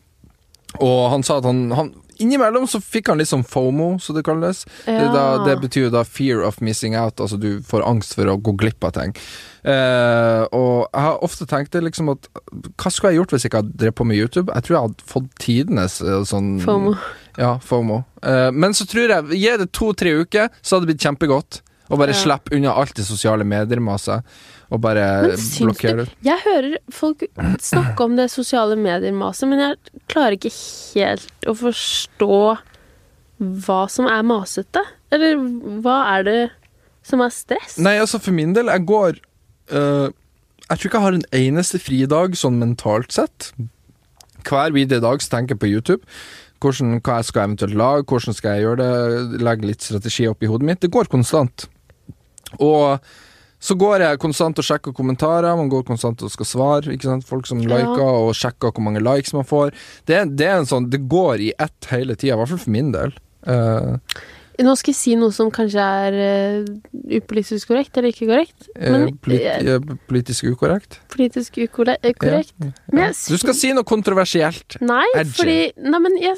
Speaker 1: Og han sa at han, han Innimellom så fikk han litt sånn FOMO, som det kalles. Det, da,
Speaker 2: Ja.
Speaker 1: det betyr jo da fear of missing out, altså du får angst for å gå glipp av ting. Eh, og jeg har ofte tenkt det liksom at hva skulle jeg gjort hvis jeg ikke hadde drevet på med YouTube? Jeg tror jeg hadde fått tidenes eh, sånn
Speaker 2: FOMO.
Speaker 1: ja, FOMO. Eh, men så tror jeg, gi det to-tre uker, så hadde det blitt kjempegodt. Å bare
Speaker 2: Ja.
Speaker 1: slippe unna alt det sosiale medier-maset, og bare
Speaker 2: Men syns
Speaker 1: blokkere
Speaker 2: du
Speaker 1: det ut.
Speaker 2: Jeg hører folk snakke om det sosiale medier-maset, men jeg klarer ikke helt å forstå hva som er masete. Eller hva er det som er stress?
Speaker 1: Nei, altså, for min del, jeg går eh, Jeg tror ikke jeg har en eneste fridag sånn mentalt sett. Hver videre dag så tenker jeg på YouTube. Hvordan, hva jeg skal eventuelt lage, hvordan skal jeg gjøre det, legge litt strategi opp i hodet mitt. Det går konstant. Og så går jeg konstant og sjekker kommentarer, man går konstant og skal svare. Ikke sant? Folk som
Speaker 2: Ja.
Speaker 1: liker, og sjekker hvor mange likes man får. Det, er- det er en sånn, det går i ett hele tida, i hvert fall for min del. Eh,
Speaker 2: Nå skal jeg si noe som kanskje er eh, upolitisk korrekt eller ikke korrekt.
Speaker 1: eh,
Speaker 2: Men-
Speaker 1: polit, eh, politisk ukorrekt.
Speaker 2: Politisk ukorrekt. Men jeg
Speaker 1: Du skal si noe kontroversielt.
Speaker 2: Nei,
Speaker 1: Edgy.
Speaker 2: fordi Nei, men jeg,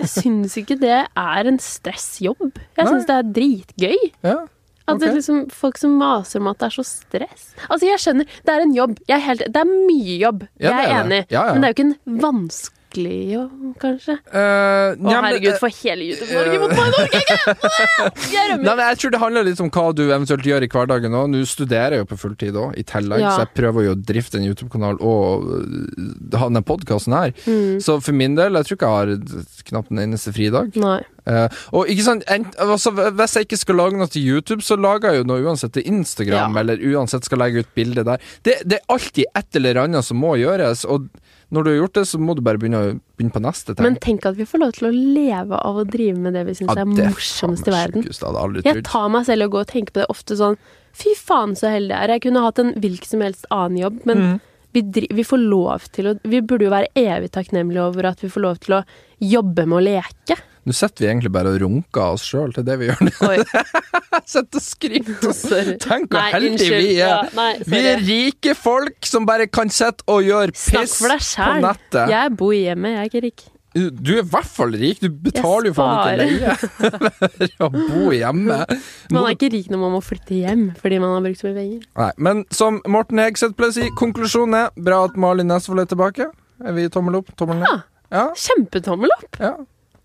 Speaker 2: jeg syns ikke det er en stressjobb. Jeg
Speaker 1: Nei.
Speaker 2: syns det er dritgøy.
Speaker 1: Ja.
Speaker 2: At det
Speaker 1: Ok.
Speaker 2: er liksom Folk som maser om at det er så stress. Altså, jeg skjønner, det er en jobb. Jeg er helt, det er mye jobb.
Speaker 1: Ja,
Speaker 2: jeg
Speaker 1: det
Speaker 2: er,
Speaker 1: er det.
Speaker 2: enig.
Speaker 1: Ja, ja.
Speaker 2: Men det er jo ikke en vanskelig lykkelig og kanskje.
Speaker 1: Eh,
Speaker 2: Å,
Speaker 1: ja, men,
Speaker 2: herregud,
Speaker 1: eh,
Speaker 2: for hele YouTube-Norge mot meg i Norge!
Speaker 1: [LAUGHS]
Speaker 2: ikke? Jeg
Speaker 1: Nei,
Speaker 2: rømmer.
Speaker 1: men jeg tror det handler litt om hva du eventuelt gjør i hverdagen òg. Nå studerer jeg jo på fulltid òg, i tillegg,
Speaker 2: Ja.
Speaker 1: så jeg prøver jo å drifte en YouTube-kanal og øh, ha denne podkasten her.
Speaker 2: Mm.
Speaker 1: Så for min del, jeg tror ikke jeg har knapt en eneste fridag.
Speaker 2: Nei.
Speaker 1: Eh, og ikke sant, ent, altså, Hvis jeg ikke skal lage noe til YouTube, så lager jeg jo noe uansett til Instagram,
Speaker 2: Ja.
Speaker 1: eller uansett skal legge ut bilde der. Det, det er alltid et eller annet som må gjøres, og når du har gjort det, så må du bare begynne, å- begynne på neste ting.
Speaker 2: Men tenk at vi får lov til å leve av å drive med det vi syns
Speaker 1: Ja,
Speaker 2: er
Speaker 1: det er
Speaker 2: morsomst
Speaker 1: faen
Speaker 2: i
Speaker 1: meg
Speaker 2: verden.
Speaker 1: sjukeste, jeg hadde aldri
Speaker 2: Jeg
Speaker 1: trodd.
Speaker 2: tar meg selv i å gå og tenke på det ofte sånn Fy faen, så heldig jeg er. Jeg kunne hatt en hvilken som helst annen jobb, men vi, dri vi får lov til å Vi burde jo være evig takknemlige over at vi får lov til å jobbe med å
Speaker 1: [LAUGHS]
Speaker 2: leke.
Speaker 1: Nå sitter vi egentlig bare og runker av oss sjøl til det vi gjør. [LAUGHS]
Speaker 2: Oi,
Speaker 1: Jeg sitter og skryter.
Speaker 2: sorry.
Speaker 1: Tenk hvor
Speaker 2: [LAUGHS] Nei,
Speaker 1: heldige
Speaker 2: unnskyld.
Speaker 1: vi
Speaker 2: Ja,
Speaker 1: er.
Speaker 2: nei,
Speaker 1: Vi er
Speaker 2: sorry.
Speaker 1: rike folk som bare kan sitte og gjøre
Speaker 2: Snakk
Speaker 1: piss
Speaker 2: for deg
Speaker 1: på
Speaker 2: sjæl.
Speaker 1: nettet.
Speaker 2: Jeg bor hjemme, jeg er ikke rik.
Speaker 1: Du er i hvert fall rik. Du betaler jo
Speaker 2: Jeg
Speaker 1: faen ikke leie for å bo hjemme.
Speaker 2: [LAUGHS] Man er ikke rik når man må flytte hjem fordi man har brukt så mye penger.
Speaker 1: Nei, men som Morten Hegseth pleier å si, konklusjonen er bra at Malin Nesvold er tilbake. Er vi tommel opp? Tommel ned? Ja.
Speaker 2: Kjempetommel opp!
Speaker 1: ja.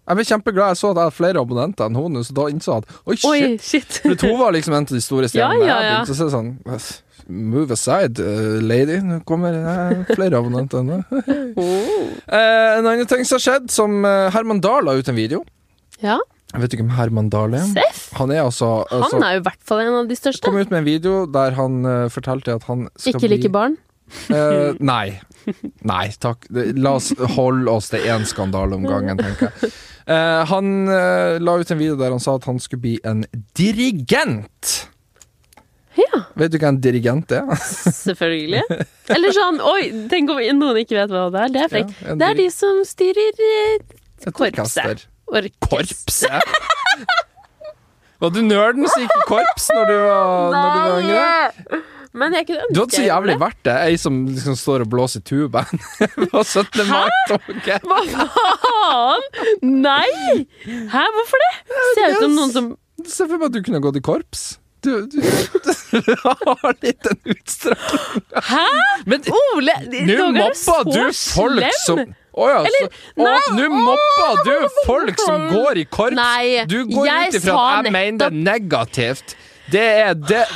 Speaker 1: Jeg ble kjempeglad. Jeg så at jeg hadde flere abonnenter enn hun, så da innså jeg at oi, shit.
Speaker 2: Oi, [LAUGHS] shit.
Speaker 1: For hun var liksom en av de store stjernene.
Speaker 2: Ja, ja, ja.
Speaker 1: Jeg begynte å se sånn Move aside, eh, lady. Nå kommer eh, flere abonnenter ennå.
Speaker 2: [LAUGHS] Oh.
Speaker 1: Eh, en annen ting som har skjedd, som eh, Herman Dahl la ut en video.
Speaker 2: Ja,
Speaker 1: Jeg vet ikke om Herman Dahl er
Speaker 2: Seff.
Speaker 1: Han er altså, altså
Speaker 2: Han er jo i hvert fall en av de største.
Speaker 1: Kom ut med en video der han eh, fortalte at han skal
Speaker 2: Ikke like
Speaker 1: bli
Speaker 2: barn.
Speaker 1: Eh, nei. Nei, takk. Det- La oss holde oss til én skandale om gangen, tenker jeg. Eh, han eh, la ut en video der han sa at han skulle bli en dirigent.
Speaker 2: Ja,
Speaker 1: Vet du hva en dirigent er?
Speaker 2: selvfølgelig. Eller sånn Oi, tenk om noen ikke vet hva det er. Det er frekt.
Speaker 1: Ja, en
Speaker 2: det er
Speaker 1: diri-
Speaker 2: de som styrer eh,
Speaker 1: Et orkester.
Speaker 2: korpset. Orkest.
Speaker 1: Korpset? Var du nerden som gikk i korps når du var, når du var yngre?
Speaker 2: Nei! Men jeg kunne ønske
Speaker 1: Du hadde så
Speaker 2: jeg
Speaker 1: jævlig
Speaker 2: gjorde det.
Speaker 1: vært det. Ei som liksom står og blåser i [LAUGHS] tubaen på 17. mai-toget.
Speaker 2: Hva faen? Nei! Hæ, hvorfor det? Ser ut som noen som
Speaker 1: Se for meg at du kunne gått i korps. Du, du, du [LAUGHS] har litt en utstrakt
Speaker 2: Hæ?
Speaker 1: Men
Speaker 2: Ole!
Speaker 1: nå
Speaker 2: Dere er så
Speaker 1: mobber du folk
Speaker 2: slem.
Speaker 1: som Å ja, så
Speaker 2: Eller,
Speaker 1: Å,
Speaker 2: nei,
Speaker 1: Nå mobber du folk som går i korps!
Speaker 2: Nei,
Speaker 1: du går
Speaker 2: jeg
Speaker 1: ut ifra
Speaker 2: sa
Speaker 1: at jeg mener det negativt. Det er det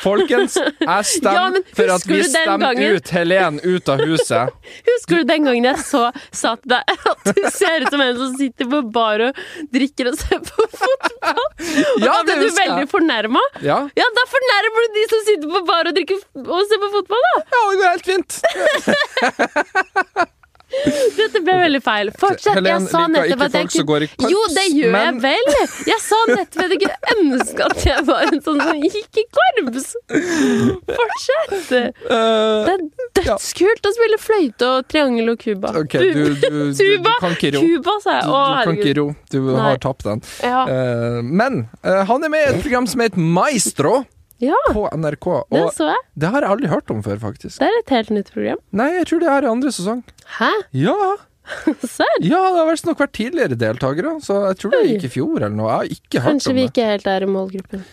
Speaker 1: Folkens, jeg stemmer
Speaker 2: [LAUGHS] Ja, men
Speaker 1: for at
Speaker 2: husker
Speaker 1: vi
Speaker 2: du den
Speaker 1: stemmer
Speaker 2: gangen?
Speaker 1: ut Helen ut av
Speaker 2: [LAUGHS]
Speaker 1: huset.
Speaker 2: Husker du den gangen jeg så sa til deg [LAUGHS] at du ser ut som en som sitter på bar og drikker og ser på fotball? Og
Speaker 1: Ja, det
Speaker 2: da ble
Speaker 1: husker
Speaker 2: du
Speaker 1: jeg.
Speaker 2: veldig fornærma.
Speaker 1: Ja,
Speaker 2: Ja, da fornærmer du de som sitter på bar og drikker f- og ser på fotball, da!
Speaker 1: ja det går helt fint.
Speaker 2: Dette ble veldig feil. Fortsett.
Speaker 1: Helen
Speaker 2: Jeg sa
Speaker 1: liker
Speaker 2: nettopp
Speaker 1: ikke
Speaker 2: at jeg
Speaker 1: folk som går i korps,
Speaker 2: Jo, det gjør
Speaker 1: men-
Speaker 2: jeg vel! Jeg sa nettopp at jeg kunne ønske at jeg var en sånn som gikk i korps! Fortsett!
Speaker 1: Eh,
Speaker 2: Det er dødskult å spille fløyte og triangel og cuba.
Speaker 1: OK, du, du, du, du,
Speaker 2: [LAUGHS] Tuba!
Speaker 1: kan ikke ro. Du,
Speaker 2: Cuba, sa jeg.
Speaker 1: du
Speaker 2: Å,
Speaker 1: kan ikke
Speaker 2: herregud.
Speaker 1: ro. Du
Speaker 2: Nei.
Speaker 1: har tapt den.
Speaker 2: Ja.
Speaker 1: Eh, men eh, han er med i et program som heter Maestro
Speaker 2: ja,
Speaker 1: på NRK.
Speaker 2: det
Speaker 1: Og
Speaker 2: så jeg.
Speaker 1: det har jeg aldri hørt om før, faktisk.
Speaker 2: Det er et helt nytt program.
Speaker 1: Nei, jeg tror det er i andre sesong.
Speaker 2: Hæ? [LAUGHS]
Speaker 1: Ja,
Speaker 2: Serr?
Speaker 1: ja det har vel nok vært tidligere deltakere, så jeg tror det gikk i fjor eller noe. Jeg har ikke hørt
Speaker 2: Kanskje
Speaker 1: om
Speaker 2: vi
Speaker 1: det.
Speaker 2: ikke helt er i målgruppen.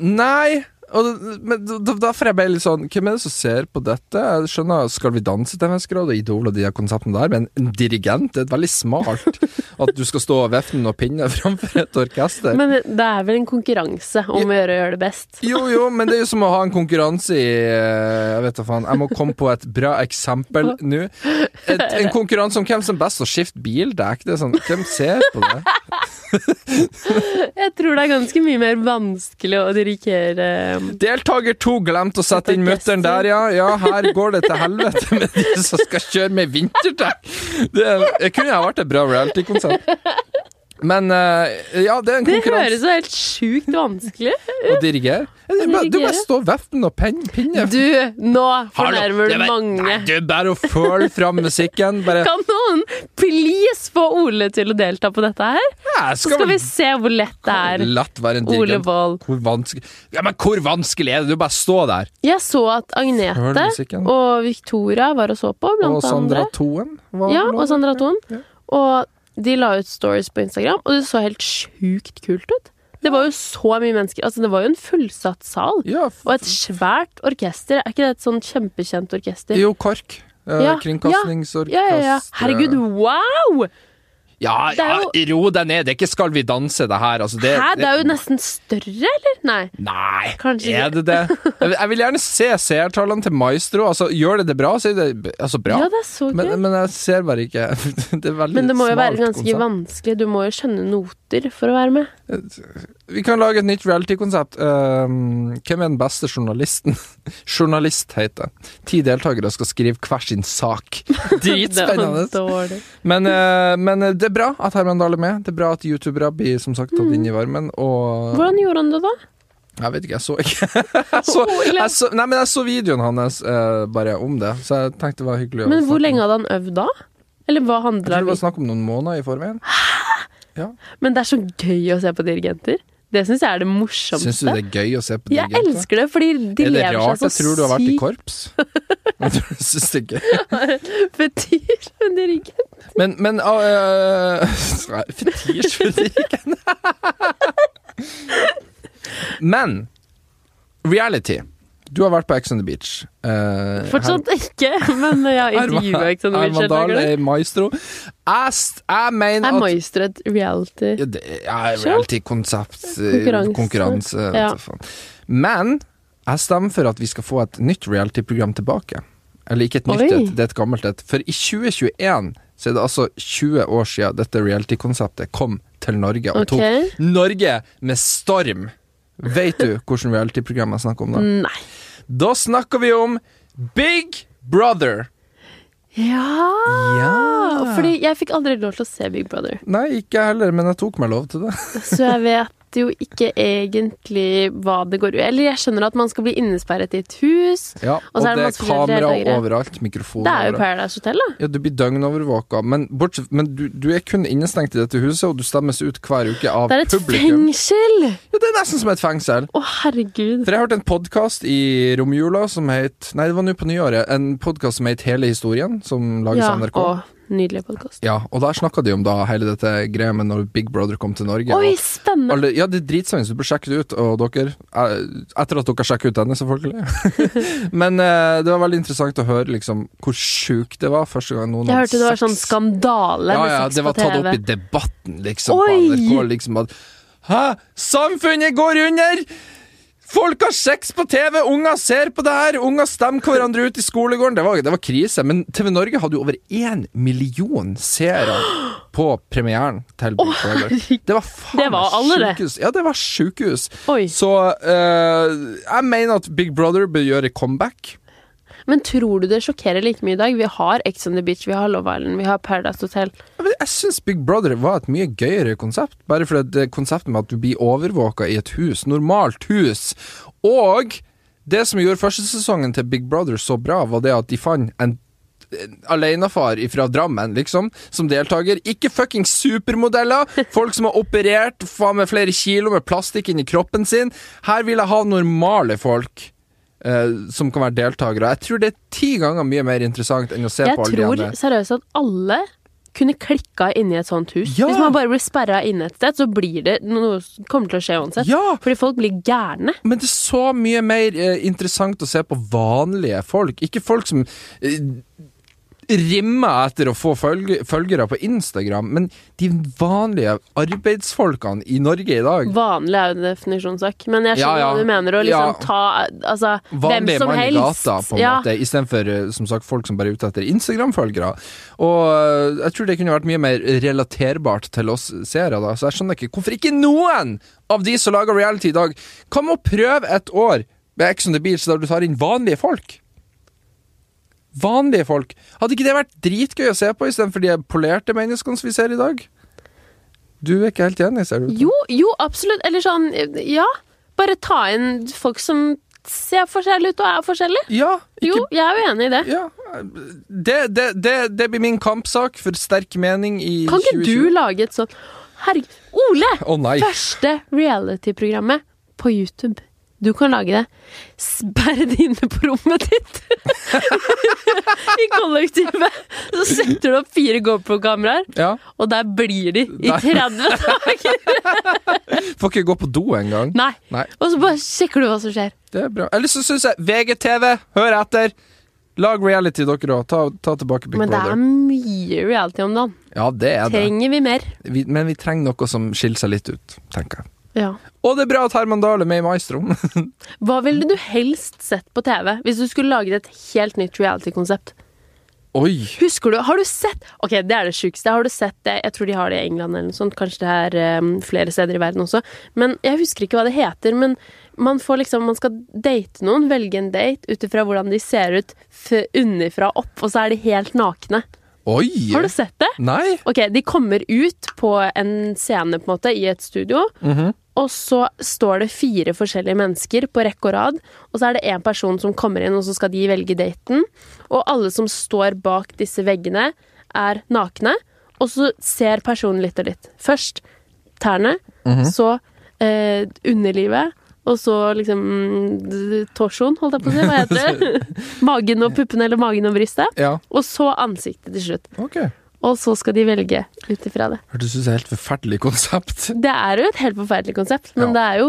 Speaker 1: Nei, og det- men da- derfor er jeg bare litt sånn Hvem er det som ser på dette? Jeg skjønner Skal vi danse til en viss grad og Idol og de her konseptene der, men en dirigent det er et veldig smalt at du skal stå og vefte noen pinner framfor et orkester.
Speaker 2: Men det er vel en konkurranse om å gjøre å gjøre det best.
Speaker 1: Jo, jo, men det er jo som å ha en konkurranse i eh, Jeg vet da faen. Jeg må komme på et bra eksempel nå. Et, en konkurranse om hvem som er best til å skifte bildekk. Det er sånn, hvem ser på det?
Speaker 2: Jeg tror det er ganske mye mer vanskelig å dirigere um,
Speaker 1: Deltaker to glemte å sette inn mutter'n der, ja. Ja, her går det til helvete med de som skal kjøre med vinterdekk. Det, det kunne ha vært et bra reality-konsept. Men eh, ja, det er en
Speaker 2: Det
Speaker 1: konkurranse
Speaker 2: høres jo helt sjukt vanskelig
Speaker 1: å dirigere. Du bare, du bare står og vefter noen pin- pinner.
Speaker 2: Du, nå
Speaker 1: Hallo, det
Speaker 2: fornærmer du
Speaker 1: er bare- Nei,
Speaker 2: mange.
Speaker 1: det er bare å føle fram musikken. Bare
Speaker 2: Kan noen please få Ole til å delta på dette her?
Speaker 1: Ja,
Speaker 2: Så skal vi se hvor lett det er.
Speaker 1: Latt være en
Speaker 2: Ole
Speaker 1: dirigent.
Speaker 2: Wold.
Speaker 1: Hvor vanskelig Ja, men hvor vanskelig er det? Du bare stå der.
Speaker 2: Jeg så at
Speaker 1: Hør
Speaker 2: Agnete
Speaker 1: musikken.
Speaker 2: og Victoria var og så på,
Speaker 1: Og
Speaker 2: blant
Speaker 1: Sandra
Speaker 2: andre.
Speaker 1: Toen. var
Speaker 2: Ja,
Speaker 1: vel
Speaker 2: og
Speaker 1: også.
Speaker 2: Sandra Thon. Og de la ut stories på Instagram, og det så helt sjukt kult ut. Det var jo så mye mennesker. Altså, det var jo en fullsatt sal.
Speaker 1: Ja, f-
Speaker 2: Og et svært orkester. Er ikke det et sånn kjempekjent orkester?
Speaker 1: jo, KORK. Eh,
Speaker 2: Ja,
Speaker 1: Kringkastingsorkester
Speaker 2: Ja, ja, ja. Herregud, wow!
Speaker 1: Ja,
Speaker 2: Det er
Speaker 1: ja, ro deg ned. Det er ikke 'Skal vi danse', det her. Altså, det,
Speaker 2: Hæ, det er jo nesten større, eller? Nei.
Speaker 1: Nei,
Speaker 2: Kanskje
Speaker 1: er det
Speaker 2: [LAUGHS]
Speaker 1: det? Jeg vil- Jeg vil gjerne se seertallene til Maestro. Altså, gjør det det bra, så er det b- altså, bra.
Speaker 2: Ja, det er så
Speaker 1: men,
Speaker 2: gøy.
Speaker 1: men jeg ser bare ikke [LAUGHS] Det er veldig
Speaker 2: Men det må
Speaker 1: smalt
Speaker 2: jo være ganske
Speaker 1: konsept.
Speaker 2: vanskelig. Du må jo skjønne noter for å være med.
Speaker 1: Vi kan lage et nytt reality-konsept. Um, hvem er den beste journalisten? [LAUGHS] Journalist heter det. Ti deltakere skal skrive hver sin
Speaker 2: [LAUGHS]
Speaker 1: sak. Dritspennende.
Speaker 2: Det var dårlig.
Speaker 1: Men, eh, men det er bra at Herman Dahl er med. Det er bra at youtubere blir som sagt tatt
Speaker 2: Mm.
Speaker 1: inn i varmen. Og
Speaker 2: Hvordan gjorde han det, da?
Speaker 1: Jeg vet ikke, jeg så ikke [LAUGHS] jeg så, jeg så, Nei, men jeg så videoen hans eh, bare om det, så jeg tenkte det var hyggelig. å
Speaker 2: Men
Speaker 1: snakke
Speaker 2: hvor
Speaker 1: om.
Speaker 2: lenge hadde han øvd da? Eller hva
Speaker 1: Jeg tror
Speaker 2: handler
Speaker 1: det
Speaker 2: det
Speaker 1: var snakk om noen måneder i forveien.
Speaker 2: om? Men det er så gøy å se på dirigenter. Det syns jeg er det morsomste.
Speaker 1: Syns du det er gøy å se på
Speaker 2: jeg
Speaker 1: dirigenter?
Speaker 2: elsker det, fordi de
Speaker 1: Er det
Speaker 2: lever
Speaker 1: rart
Speaker 2: seg
Speaker 1: jeg tror du
Speaker 2: så
Speaker 1: har vært i
Speaker 2: sykt
Speaker 1: korps? [LAUGHS] Jeg tror du synes det er gøy.
Speaker 2: betyr en dirigent.
Speaker 1: Men, men øh, [LAUGHS] øh, Fetisj for dirigenten. Men reality. Du har vært på Ex on the Beach. Eh,
Speaker 2: Fortsatt ikke, men jeg har
Speaker 1: [LAUGHS] Herman-
Speaker 2: intervjua ikke sånn
Speaker 1: Herman Dahl
Speaker 2: Wilshere.
Speaker 1: er maestro. Jeg, s- jeg mener
Speaker 2: Er
Speaker 1: at
Speaker 2: Maestro et reality?
Speaker 1: Ja, det er
Speaker 2: Show?
Speaker 1: reality-konsept, eh,
Speaker 2: Konkurranse.
Speaker 1: konkurranse vet
Speaker 2: Ja.
Speaker 1: du faen. Men jeg stemmer for at vi skal få et nytt reality-program tilbake. Eller ikke et nytt
Speaker 2: Oi.
Speaker 1: et, det er et gammelt et. For i 2021 så er det altså 20 år siden dette reality-konseptet kom til Norge og
Speaker 2: Ok.
Speaker 1: tok Norge med storm. Vet du hvilket reality-program jeg snakker om da?
Speaker 2: Nei.
Speaker 1: Da snakker vi om Big Brother.
Speaker 2: Ja.
Speaker 1: Ja.
Speaker 2: Fordi jeg fikk aldri lov til å se Big Brother,
Speaker 1: Nei, ikke jeg heller, men jeg tok meg lov til det.
Speaker 2: så jeg vet jo ikke egentlig hva det går ut Eller jeg skjønner at man skal bli innesperret i et hus.
Speaker 1: Ja,
Speaker 2: Og
Speaker 1: og
Speaker 2: så er
Speaker 1: det
Speaker 2: det
Speaker 1: er
Speaker 2: masse forskjellige
Speaker 1: kamera
Speaker 2: deltakere.
Speaker 1: overalt, mikrofon
Speaker 2: Det er jo
Speaker 1: overalt.
Speaker 2: Paradise Hotel, da.
Speaker 1: Ja, du blir døgnovervåka, men, bortsett, men du, du er kun innestengt i dette huset, og du stemmes ut hver uke av
Speaker 2: Det er et
Speaker 1: publikum.
Speaker 2: fengsel!
Speaker 1: Ja, det er nesten som et fengsel.
Speaker 2: Å, herregud.
Speaker 1: For jeg hørte en podkast i romjula som het Nei, det var nå på nyåret. En podkast som het Hele historien, som lages av NRK.
Speaker 2: å, nydelig podkast.
Speaker 1: Ja, og der snakka de om da hele dette greia med når Big Brother kom til Norge.
Speaker 2: Oi,
Speaker 1: og
Speaker 2: spennende!
Speaker 1: alle, ja, det er dritspennende, så du bør sjekke det ut. Og dere eh, Etter at dere sjekker ut denne, selvfølgelig.
Speaker 2: [LAUGHS]
Speaker 1: Men eh, det var veldig interessant å høre liksom hvor sjukt det var første gang noen
Speaker 2: Jeg hørte det var sånn
Speaker 1: sex.
Speaker 2: skandale med
Speaker 1: ja, ja,
Speaker 2: sex
Speaker 1: det var
Speaker 2: på TV.
Speaker 1: tatt opp i debatten, liksom. På
Speaker 2: Oi!
Speaker 1: NRK, liksom at Hæ? Samfunnet går under! Folk har sex på TV! Unger ser på det her! Unger stemmer hverandre ut i skolegården! Det var, det var krise. Men TV Norge hadde jo over én million seere på premieren til Big Brother. Det var faen
Speaker 2: Det var alle, det.
Speaker 1: sjukehus. Ja, det var sjukehus.
Speaker 2: Oi.
Speaker 1: Så eh, jeg mener at Big Brother bør gjøre comeback.
Speaker 2: Men tror du det sjokkerer like mye i dag? Vi har Ex on the Beach, vi har Love Island, vi har Paradise Hotel.
Speaker 1: Ja, men Jeg syns Big Brother var et mye gøyere konsept. Bare fordi det konseptet med at du blir overvåka i et hus, normalt hus. Og det som gjorde første sesongen til Big Brother så bra, var det at de fant en en alenefar fra Drammen, liksom, som deltaker. Ikke fucking supermodeller! Folk som har operert faen meg flere kilo med plastikk inni kroppen sin. Her vil jeg ha normale folk. eh, som kan være deltakere. Jeg tror det er ti ganger mye mer interessant enn å se
Speaker 2: Jeg
Speaker 1: på alle de
Speaker 2: tror
Speaker 1: andre.
Speaker 2: seriøst at alle kunne klikka inni et sånt hus.
Speaker 1: Ja.
Speaker 2: Hvis man bare blir sperra inne et sted, så blir det noe som kommer til å skje uansett.
Speaker 1: Ja!
Speaker 2: Fordi folk blir gærne.
Speaker 1: Men det er så mye mer eh, interessant å se på vanlige folk. Ikke folk som eh, rimmer etter å få følge, følgere på Instagram, men de vanlige arbeidsfolkene i Norge i dag.
Speaker 2: Vanlig er jo en definisjonssak, men jeg
Speaker 1: Ja,
Speaker 2: skjønner
Speaker 1: ja.
Speaker 2: hva du mener. Å
Speaker 1: Ja.
Speaker 2: liksom ta altså, hvem
Speaker 1: Vanlige
Speaker 2: som
Speaker 1: mann i
Speaker 2: helst.
Speaker 1: gata, på en
Speaker 2: ja.
Speaker 1: måte, istedenfor eh, som sagt, folk som bare er ute etter Instagram-følgere. Og eh, jeg tror det kunne vært mye mer relaterbart til oss seere, da, så jeg skjønner ikke hvorfor ikke noen av de som lager reality i dag, kan må prøve et år med Ex on the Beach der du tar inn vanlige folk. Vanlige folk. Hadde ikke det vært dritgøy å se på istedenfor de polerte menneskene som vi ser i dag? Du er ikke helt enig, ser du?
Speaker 2: Jo, jo, absolutt. Eller sånn, ja. Bare ta inn folk som ser forskjellige ut og er forskjellige.
Speaker 1: Ja, ikke
Speaker 2: Jo, jeg er jo enig i det.
Speaker 1: Ja, det, det, det, det blir min kampsak for sterk mening i
Speaker 2: Kan ikke du lage et sånt Herregud. Ole!
Speaker 1: Å nei.
Speaker 2: Første reality-programmet på YouTube. Du kan lage det. Sperr det inne på rommet ditt! [LAUGHS] I kollektivet. Så setter du opp fire GoPro-kameraer,
Speaker 1: Ja.
Speaker 2: og der blir de i
Speaker 1: Nei.
Speaker 2: 30
Speaker 1: [LAUGHS]
Speaker 2: dager!
Speaker 1: Får ikke gå på do engang.
Speaker 2: Nei.
Speaker 1: Nei.
Speaker 2: Og så bare sjekker du hva som skjer.
Speaker 1: Det er bra. Eller så syns jeg VGTV, hør etter! Lag reality, dere òg. Ta, ta tilbake Big
Speaker 2: Men det er
Speaker 1: Brother.
Speaker 2: mye reality om dagen.
Speaker 1: Ja, det er det.
Speaker 2: Trenger vi mer?
Speaker 1: Vi, men vi trenger noe som skiller seg litt ut, tenker jeg.
Speaker 2: Ja.
Speaker 1: Og det er bra at Herman Dahl er med i Maestro. [LAUGHS]
Speaker 2: Hva ville du helst sett på TV hvis du skulle laget et helt nytt reality-konsept?
Speaker 1: Oi!
Speaker 2: Husker du, har du sett Ok, det er det sjukeste. Har du sett det? Jeg tror de har det i England eller noe sånt. Kanskje det er eh, flere steder i verden også. Men jeg husker ikke hva det heter. Men man får liksom Man skal date noen, velge en date ut ifra hvordan de ser ut f underfra og opp, og så er de helt nakne.
Speaker 1: Oi!
Speaker 2: Har du sett det?
Speaker 1: Nei?
Speaker 2: Ok, de kommer ut på en scene på en måte i et studio. Og så står det fire forskjellige mennesker på rekke og rad. Og så er det én person som kommer inn, og så skal de velge daten. Og alle som står bak disse veggene, er nakne. Og så ser personen litt og litt. Først tærne, så eh, underlivet. Og så liksom mm, torsoen, holdt jeg på å si. Hva heter det? magen og puppene, eller magen og brystet.
Speaker 1: Ja,
Speaker 2: Og så ansiktet til slutt.
Speaker 1: ok.
Speaker 2: Og så skal de velge ut ifra det.
Speaker 1: Hørtes ut som et helt forferdelig konsept.
Speaker 2: Det er jo et helt forferdelig konsept,
Speaker 1: Ja.
Speaker 2: men det er jo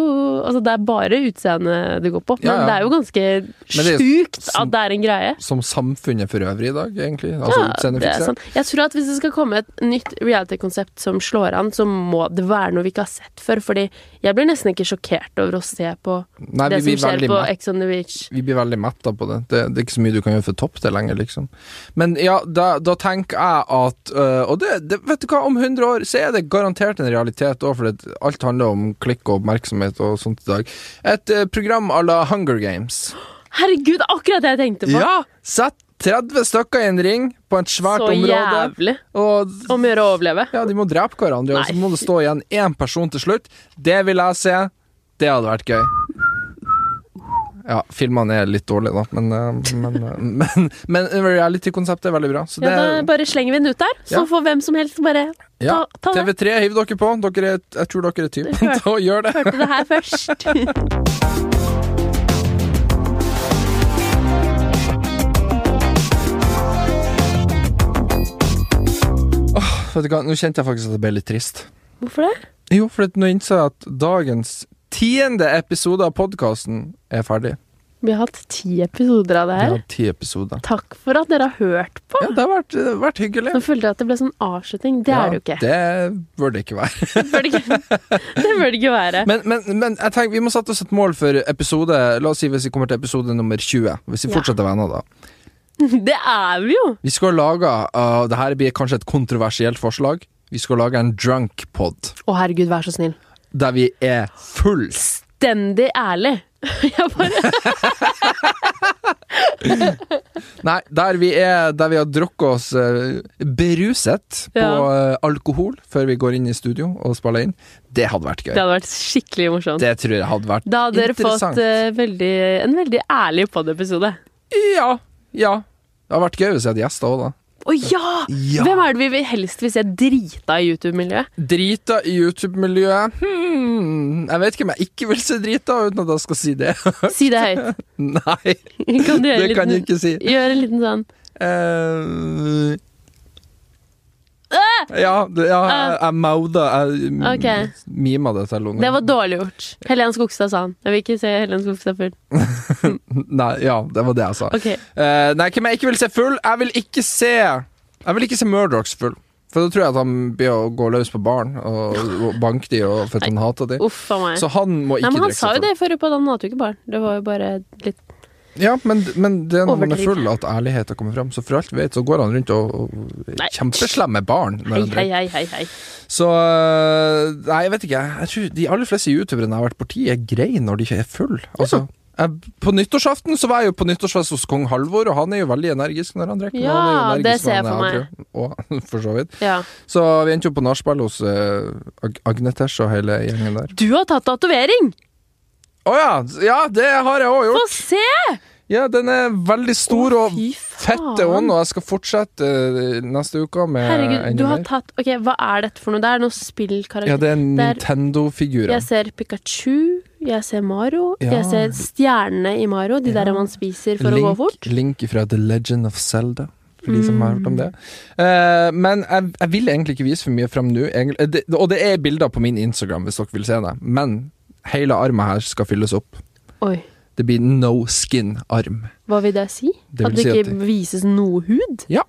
Speaker 2: altså det er bare utseendet det går på. Men
Speaker 1: Ja, ja.
Speaker 2: det er jo ganske
Speaker 1: det er
Speaker 2: sjukt
Speaker 1: som-
Speaker 2: at det er en greie.
Speaker 1: Som samfunnet for øvrig i dag, egentlig. Altså
Speaker 2: Ja, det er
Speaker 1: utseendefikser.
Speaker 2: sånn. Jeg tror at hvis det skal komme et nytt reality-konsept som slår an, så må det være noe vi ikke har sett før. Fordi jeg blir nesten ikke sjokkert over å se på
Speaker 1: Nei,
Speaker 2: det
Speaker 1: vi blir
Speaker 2: som skjer
Speaker 1: veldig
Speaker 2: på
Speaker 1: mett.
Speaker 2: Ex on the Beach.
Speaker 1: Vi blir veldig metta på det. det. Det er ikke så mye du kan gjøre for topp det lenger, liksom. Men ja, da, da tenker jeg at øh, Og det, det, vet du hva, om 100 år så er det garantert en realitet òg, for det, alt handler om klikk og oppmerksomhet og sånt i dag. Et øh, program à la Hunger Games.
Speaker 2: Herregud, akkurat det jeg tenkte på!
Speaker 1: Ja! Sett 30 stykker i en ring på et svært
Speaker 2: så
Speaker 1: område,
Speaker 2: jævlig.
Speaker 1: og
Speaker 2: Om å gjøre å overleve.
Speaker 1: ja, de må drepe hverandre, og så
Speaker 2: Nei.
Speaker 1: må det stå igjen én person til slutt. Det vil jeg se. Det hadde vært gøy. Ja, filmene er litt dårlige, da, men, eh, men, eh, [LAUGHS] men, men reality-konseptet er veldig bra. Så
Speaker 2: Ja,
Speaker 1: det,
Speaker 2: da bare slenger vi den ut der, så
Speaker 1: Ja.
Speaker 2: får hvem som helst bare
Speaker 1: ja,
Speaker 2: ta, ta det.
Speaker 1: TV3, hiv dere på. Dere er, jeg tror dere er typen
Speaker 2: Hør-
Speaker 1: til å gjøre det.
Speaker 2: Hørte det her først.
Speaker 1: Vet du hva, Nå kjente jeg faktisk at jeg ble litt trist.
Speaker 2: [LAUGHS] Hvorfor det?
Speaker 1: Jo, for at nå innså jeg at dagens tiende episode av podkasten er ferdig.
Speaker 2: Vi har hatt ti episoder av det
Speaker 1: Vi
Speaker 2: her.
Speaker 1: har ti episoder.
Speaker 2: Takk for at dere har hørt på.
Speaker 1: Ja, det har vært, det har vært hyggelig.
Speaker 2: Nå følte jeg at det ble sånn avslutning. Det
Speaker 1: Ja,
Speaker 2: er det jo ikke.
Speaker 1: Det bør det ikke være.
Speaker 2: [LAUGHS] Det bør det ikke, det bør det ikke være.
Speaker 1: Men, men, men jeg tenker, vi må sette oss et mål for episode La oss si hvis vi kommer til episode nummer 20. Hvis vi
Speaker 2: Ja.
Speaker 1: fortsetter venner, da.
Speaker 2: [LAUGHS] Det er vi jo!
Speaker 1: Vi skal lage uh, Det her blir kanskje et kontroversielt forslag. Vi skal lage en drunk pod
Speaker 2: Å, herregud, vær så snill.
Speaker 1: der vi er full.
Speaker 2: Stendig ærlig. [LAUGHS] Jeg
Speaker 1: [LAUGHS]
Speaker 2: bare
Speaker 1: Nei, der vi, er, der vi har drukket oss uh, beruset på
Speaker 2: Ja.
Speaker 1: uh, alkohol før vi går inn i studio og spiller inn. Det hadde vært gøy.
Speaker 2: Det hadde vært skikkelig morsomt.
Speaker 1: Det tror jeg hadde vært
Speaker 2: Da hadde dere fått
Speaker 1: interessant.
Speaker 2: eh, veldig, en veldig ærlig pod-episode.
Speaker 1: Ja. Ja. Det hadde vært gøy hvis jeg hadde gjester òg, da.
Speaker 2: Å ja!
Speaker 1: Ja.
Speaker 2: Hvem er det vi vil- helst vil se drita i YouTube-miljøet?
Speaker 1: Drita i YouTube-miljøet hmm, Jeg vet ikke om jeg ikke vil se drita uten at jeg skal si det. [LAUGHS]
Speaker 2: Si det høyt.
Speaker 1: Nei,
Speaker 2: Kan du gjøre,
Speaker 1: det
Speaker 2: en
Speaker 1: kan jeg
Speaker 2: liten,
Speaker 1: ikke si.
Speaker 2: gjøre en liten sånn
Speaker 1: Eh, ja, det- ja, jeg, jeg mauda Jeg mm,
Speaker 2: Ah! Ok.
Speaker 1: mima det til
Speaker 2: Det
Speaker 1: Lone.
Speaker 2: var dårlig gjort. Helen Skogstad sa han. Jeg vil ikke se Helen Skogstad full.
Speaker 1: Nei, ja, det var det jeg sa.
Speaker 2: Ok.
Speaker 1: Eh, nei, hvem jeg ikke vil se full? Jeg vil ikke se Jeg vil ikke se Murdochs full. For da tror jeg at han blir å gå løs på barn og, og banke de og for at han hater de.
Speaker 2: Uff a meg.
Speaker 1: Så han må
Speaker 2: Oh, Nei,
Speaker 1: ikke
Speaker 2: men han
Speaker 1: drikke
Speaker 2: sa
Speaker 1: seg
Speaker 2: jo
Speaker 1: full.
Speaker 2: det forrige på den hadde jo ikke barn. Det var jo bare litt
Speaker 1: Ja, men, men det er når man er
Speaker 2: Overdriv.
Speaker 1: full at ærligheten kommer fram. Så for alt vi vet, så går han rundt og, og
Speaker 2: Nei.
Speaker 1: kjempeslemme barn. Når
Speaker 2: hei,
Speaker 1: han
Speaker 2: hei,
Speaker 1: drikker.
Speaker 2: hei, hei. hei.
Speaker 1: Så øh, Nei, jeg vet ikke. Jeg tror de aller fleste youtuberne jeg har vært borti, er greie når de ikke er full. Altså, jeg, på nyttårsaften så var jeg jo på nyttårsfest hos kong Halvor, og han er jo veldig energisk når han drikker.
Speaker 2: Ja, det ser jeg for
Speaker 1: Og, [LAUGHS] for så vidt.
Speaker 2: Ja.
Speaker 1: Så vi endte jo på nachspiel hos øh, Ag- Agnetesh og hele gjengen der.
Speaker 2: Du har tatt tatovering!
Speaker 1: Å ja! Ja, det har jeg òg
Speaker 2: Få
Speaker 1: gjort.
Speaker 2: se!
Speaker 1: Ja, den er veldig stor
Speaker 2: Å,
Speaker 1: og
Speaker 2: fy faen.
Speaker 1: fette ånd, og jeg skal fortsette eh, neste uke med
Speaker 2: Herregud,
Speaker 1: enda
Speaker 2: du har
Speaker 1: mer.
Speaker 2: tatt Ok, hva er dette for noe? Det er noen spillkarakter.
Speaker 1: Ja, det er
Speaker 2: Der-
Speaker 1: Nintendo-figurer.
Speaker 2: Jeg ser Pikachu, jeg ser Mario,
Speaker 1: Ja.
Speaker 2: jeg ser stjernene i Mario, de der
Speaker 1: Ja.
Speaker 2: man spiser for å gå
Speaker 1: Link,
Speaker 2: fort.
Speaker 1: Link fra The Legend of Zelda. For de som har hørt om det. Eh, men jeg, jeg vil egentlig ikke vise for mye fram nå. egentlig. Eh, det- Og det er bilder på min Instagram, hvis dere vil se det. Men hele armen her skal fylles opp.
Speaker 2: Oi.
Speaker 1: Det Det blir no skin arm.
Speaker 2: Hva vil det si?
Speaker 1: Det vil
Speaker 2: at det
Speaker 1: si at
Speaker 2: ikke vises noe hud?
Speaker 1: Ja.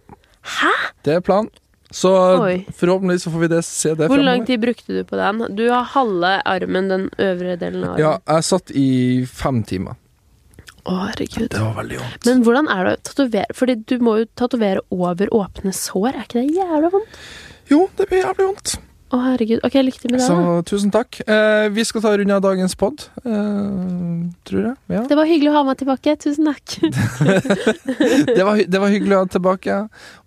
Speaker 2: Hæ?
Speaker 1: Det er planen. Så
Speaker 2: Oi.
Speaker 1: forhåpentligvis så får vi det, se det
Speaker 2: Hvor lang
Speaker 1: fremover.
Speaker 2: tid brukte du på den? Du har halve armen, den øvre delen av
Speaker 1: Ja,
Speaker 2: armen.
Speaker 1: jeg satt i fem timer.
Speaker 2: Å, herregud.
Speaker 1: Det var veldig vondt.
Speaker 2: Men hvordan er det å tatovere? Fordi du må jo tatovere over åpne sår. Er ikke det jævla vondt?
Speaker 1: Jo, det ble jævlig vondt.
Speaker 2: Å, herregud. Ok, lykke til med det.
Speaker 1: Så
Speaker 2: da.
Speaker 1: tusen takk. Eh, vi skal ta runde av dagens pod, eh, tror jeg. Ja.
Speaker 2: Det var hyggelig å ha meg tilbake. Tusen takk. Det
Speaker 1: Det, var, hy- det var hyggelig å ha deg tilbake.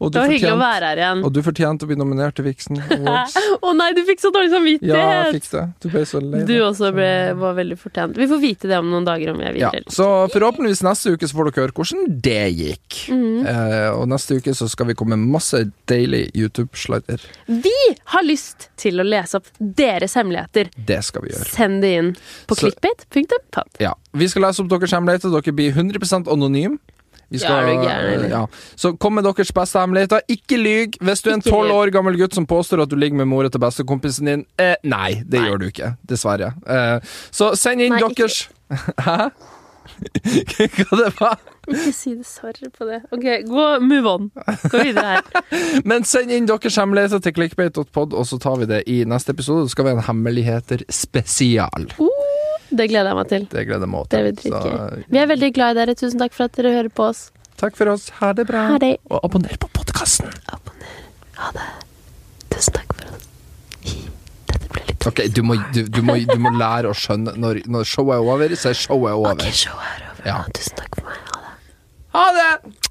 Speaker 1: Og du,
Speaker 2: var hyggelig å
Speaker 1: fortjente,
Speaker 2: være her igjen.
Speaker 1: og du fortjente å bli nominert til Vixen
Speaker 2: [LAUGHS]
Speaker 1: Awards.
Speaker 2: Å nei, du fikk så dårlig
Speaker 1: Ja, jeg
Speaker 2: samvittighet!
Speaker 1: fikk det. Du ble så lei.
Speaker 2: du
Speaker 1: deg.
Speaker 2: også ble, var veldig fortjent. Vi får vite det om noen dager om jeg vil.
Speaker 1: Ja,
Speaker 2: eller-
Speaker 1: så forhåpentligvis neste uke så får dere høre hvordan det gikk.
Speaker 2: Mhm.
Speaker 1: Eh, og neste uke så skal vi komme med masse deilig YouTube-sladder.
Speaker 2: Vi har lyst til å lese opp deres hemmeligheter.
Speaker 1: Det skal vi gjøre.
Speaker 2: Send det inn på
Speaker 1: Så-
Speaker 2: clickbait.pub.
Speaker 1: Ja. Vi skal lese opp deres hemmeligheter. Dere blir 100 anonym. Vi
Speaker 2: Ja, er du gæren, eller?
Speaker 1: ja. Så kom med deres beste hemmeligheter. Ikke lyg! Hvis du er en
Speaker 2: Ikke lyg.
Speaker 1: tolv år gammel gutt som påstår at du ligger med mora til bestekompisen din, eh, nei, det
Speaker 2: Nei.
Speaker 1: gjør du ikke. Dessverre. Eh, så send inn
Speaker 2: Nei, ikke-
Speaker 1: deres [LAUGHS] Hæ? Hva det var?
Speaker 2: Ikke si det sorry på det. Ok, gå, move on. Gå videre her. [LAUGHS]
Speaker 1: Men send inn deres hemmeligheter til clickbait.pod, og så tar vi det i neste episode. Så skal vi ha en hemmeligheter spesial.
Speaker 2: Uh, Det gleder jeg meg til.
Speaker 1: Det gleder jeg meg
Speaker 2: Det blir
Speaker 1: til. Så,
Speaker 2: dritgøy. Vi er veldig glad i dere. Tusen takk for at dere hører på oss.
Speaker 1: takk for oss. Ha det bra.
Speaker 2: Ha det.
Speaker 1: Og abonner på podkasten.
Speaker 2: Ha det. Tusen takk for det. Dette ble litt
Speaker 1: Ok, du må, du, du, må, du må lære å skjønne når, når showet er over, så er showet over.
Speaker 2: Ok, showet er over.
Speaker 1: Ja.
Speaker 2: Tusen takk for meg. Ha det.
Speaker 1: Ha det!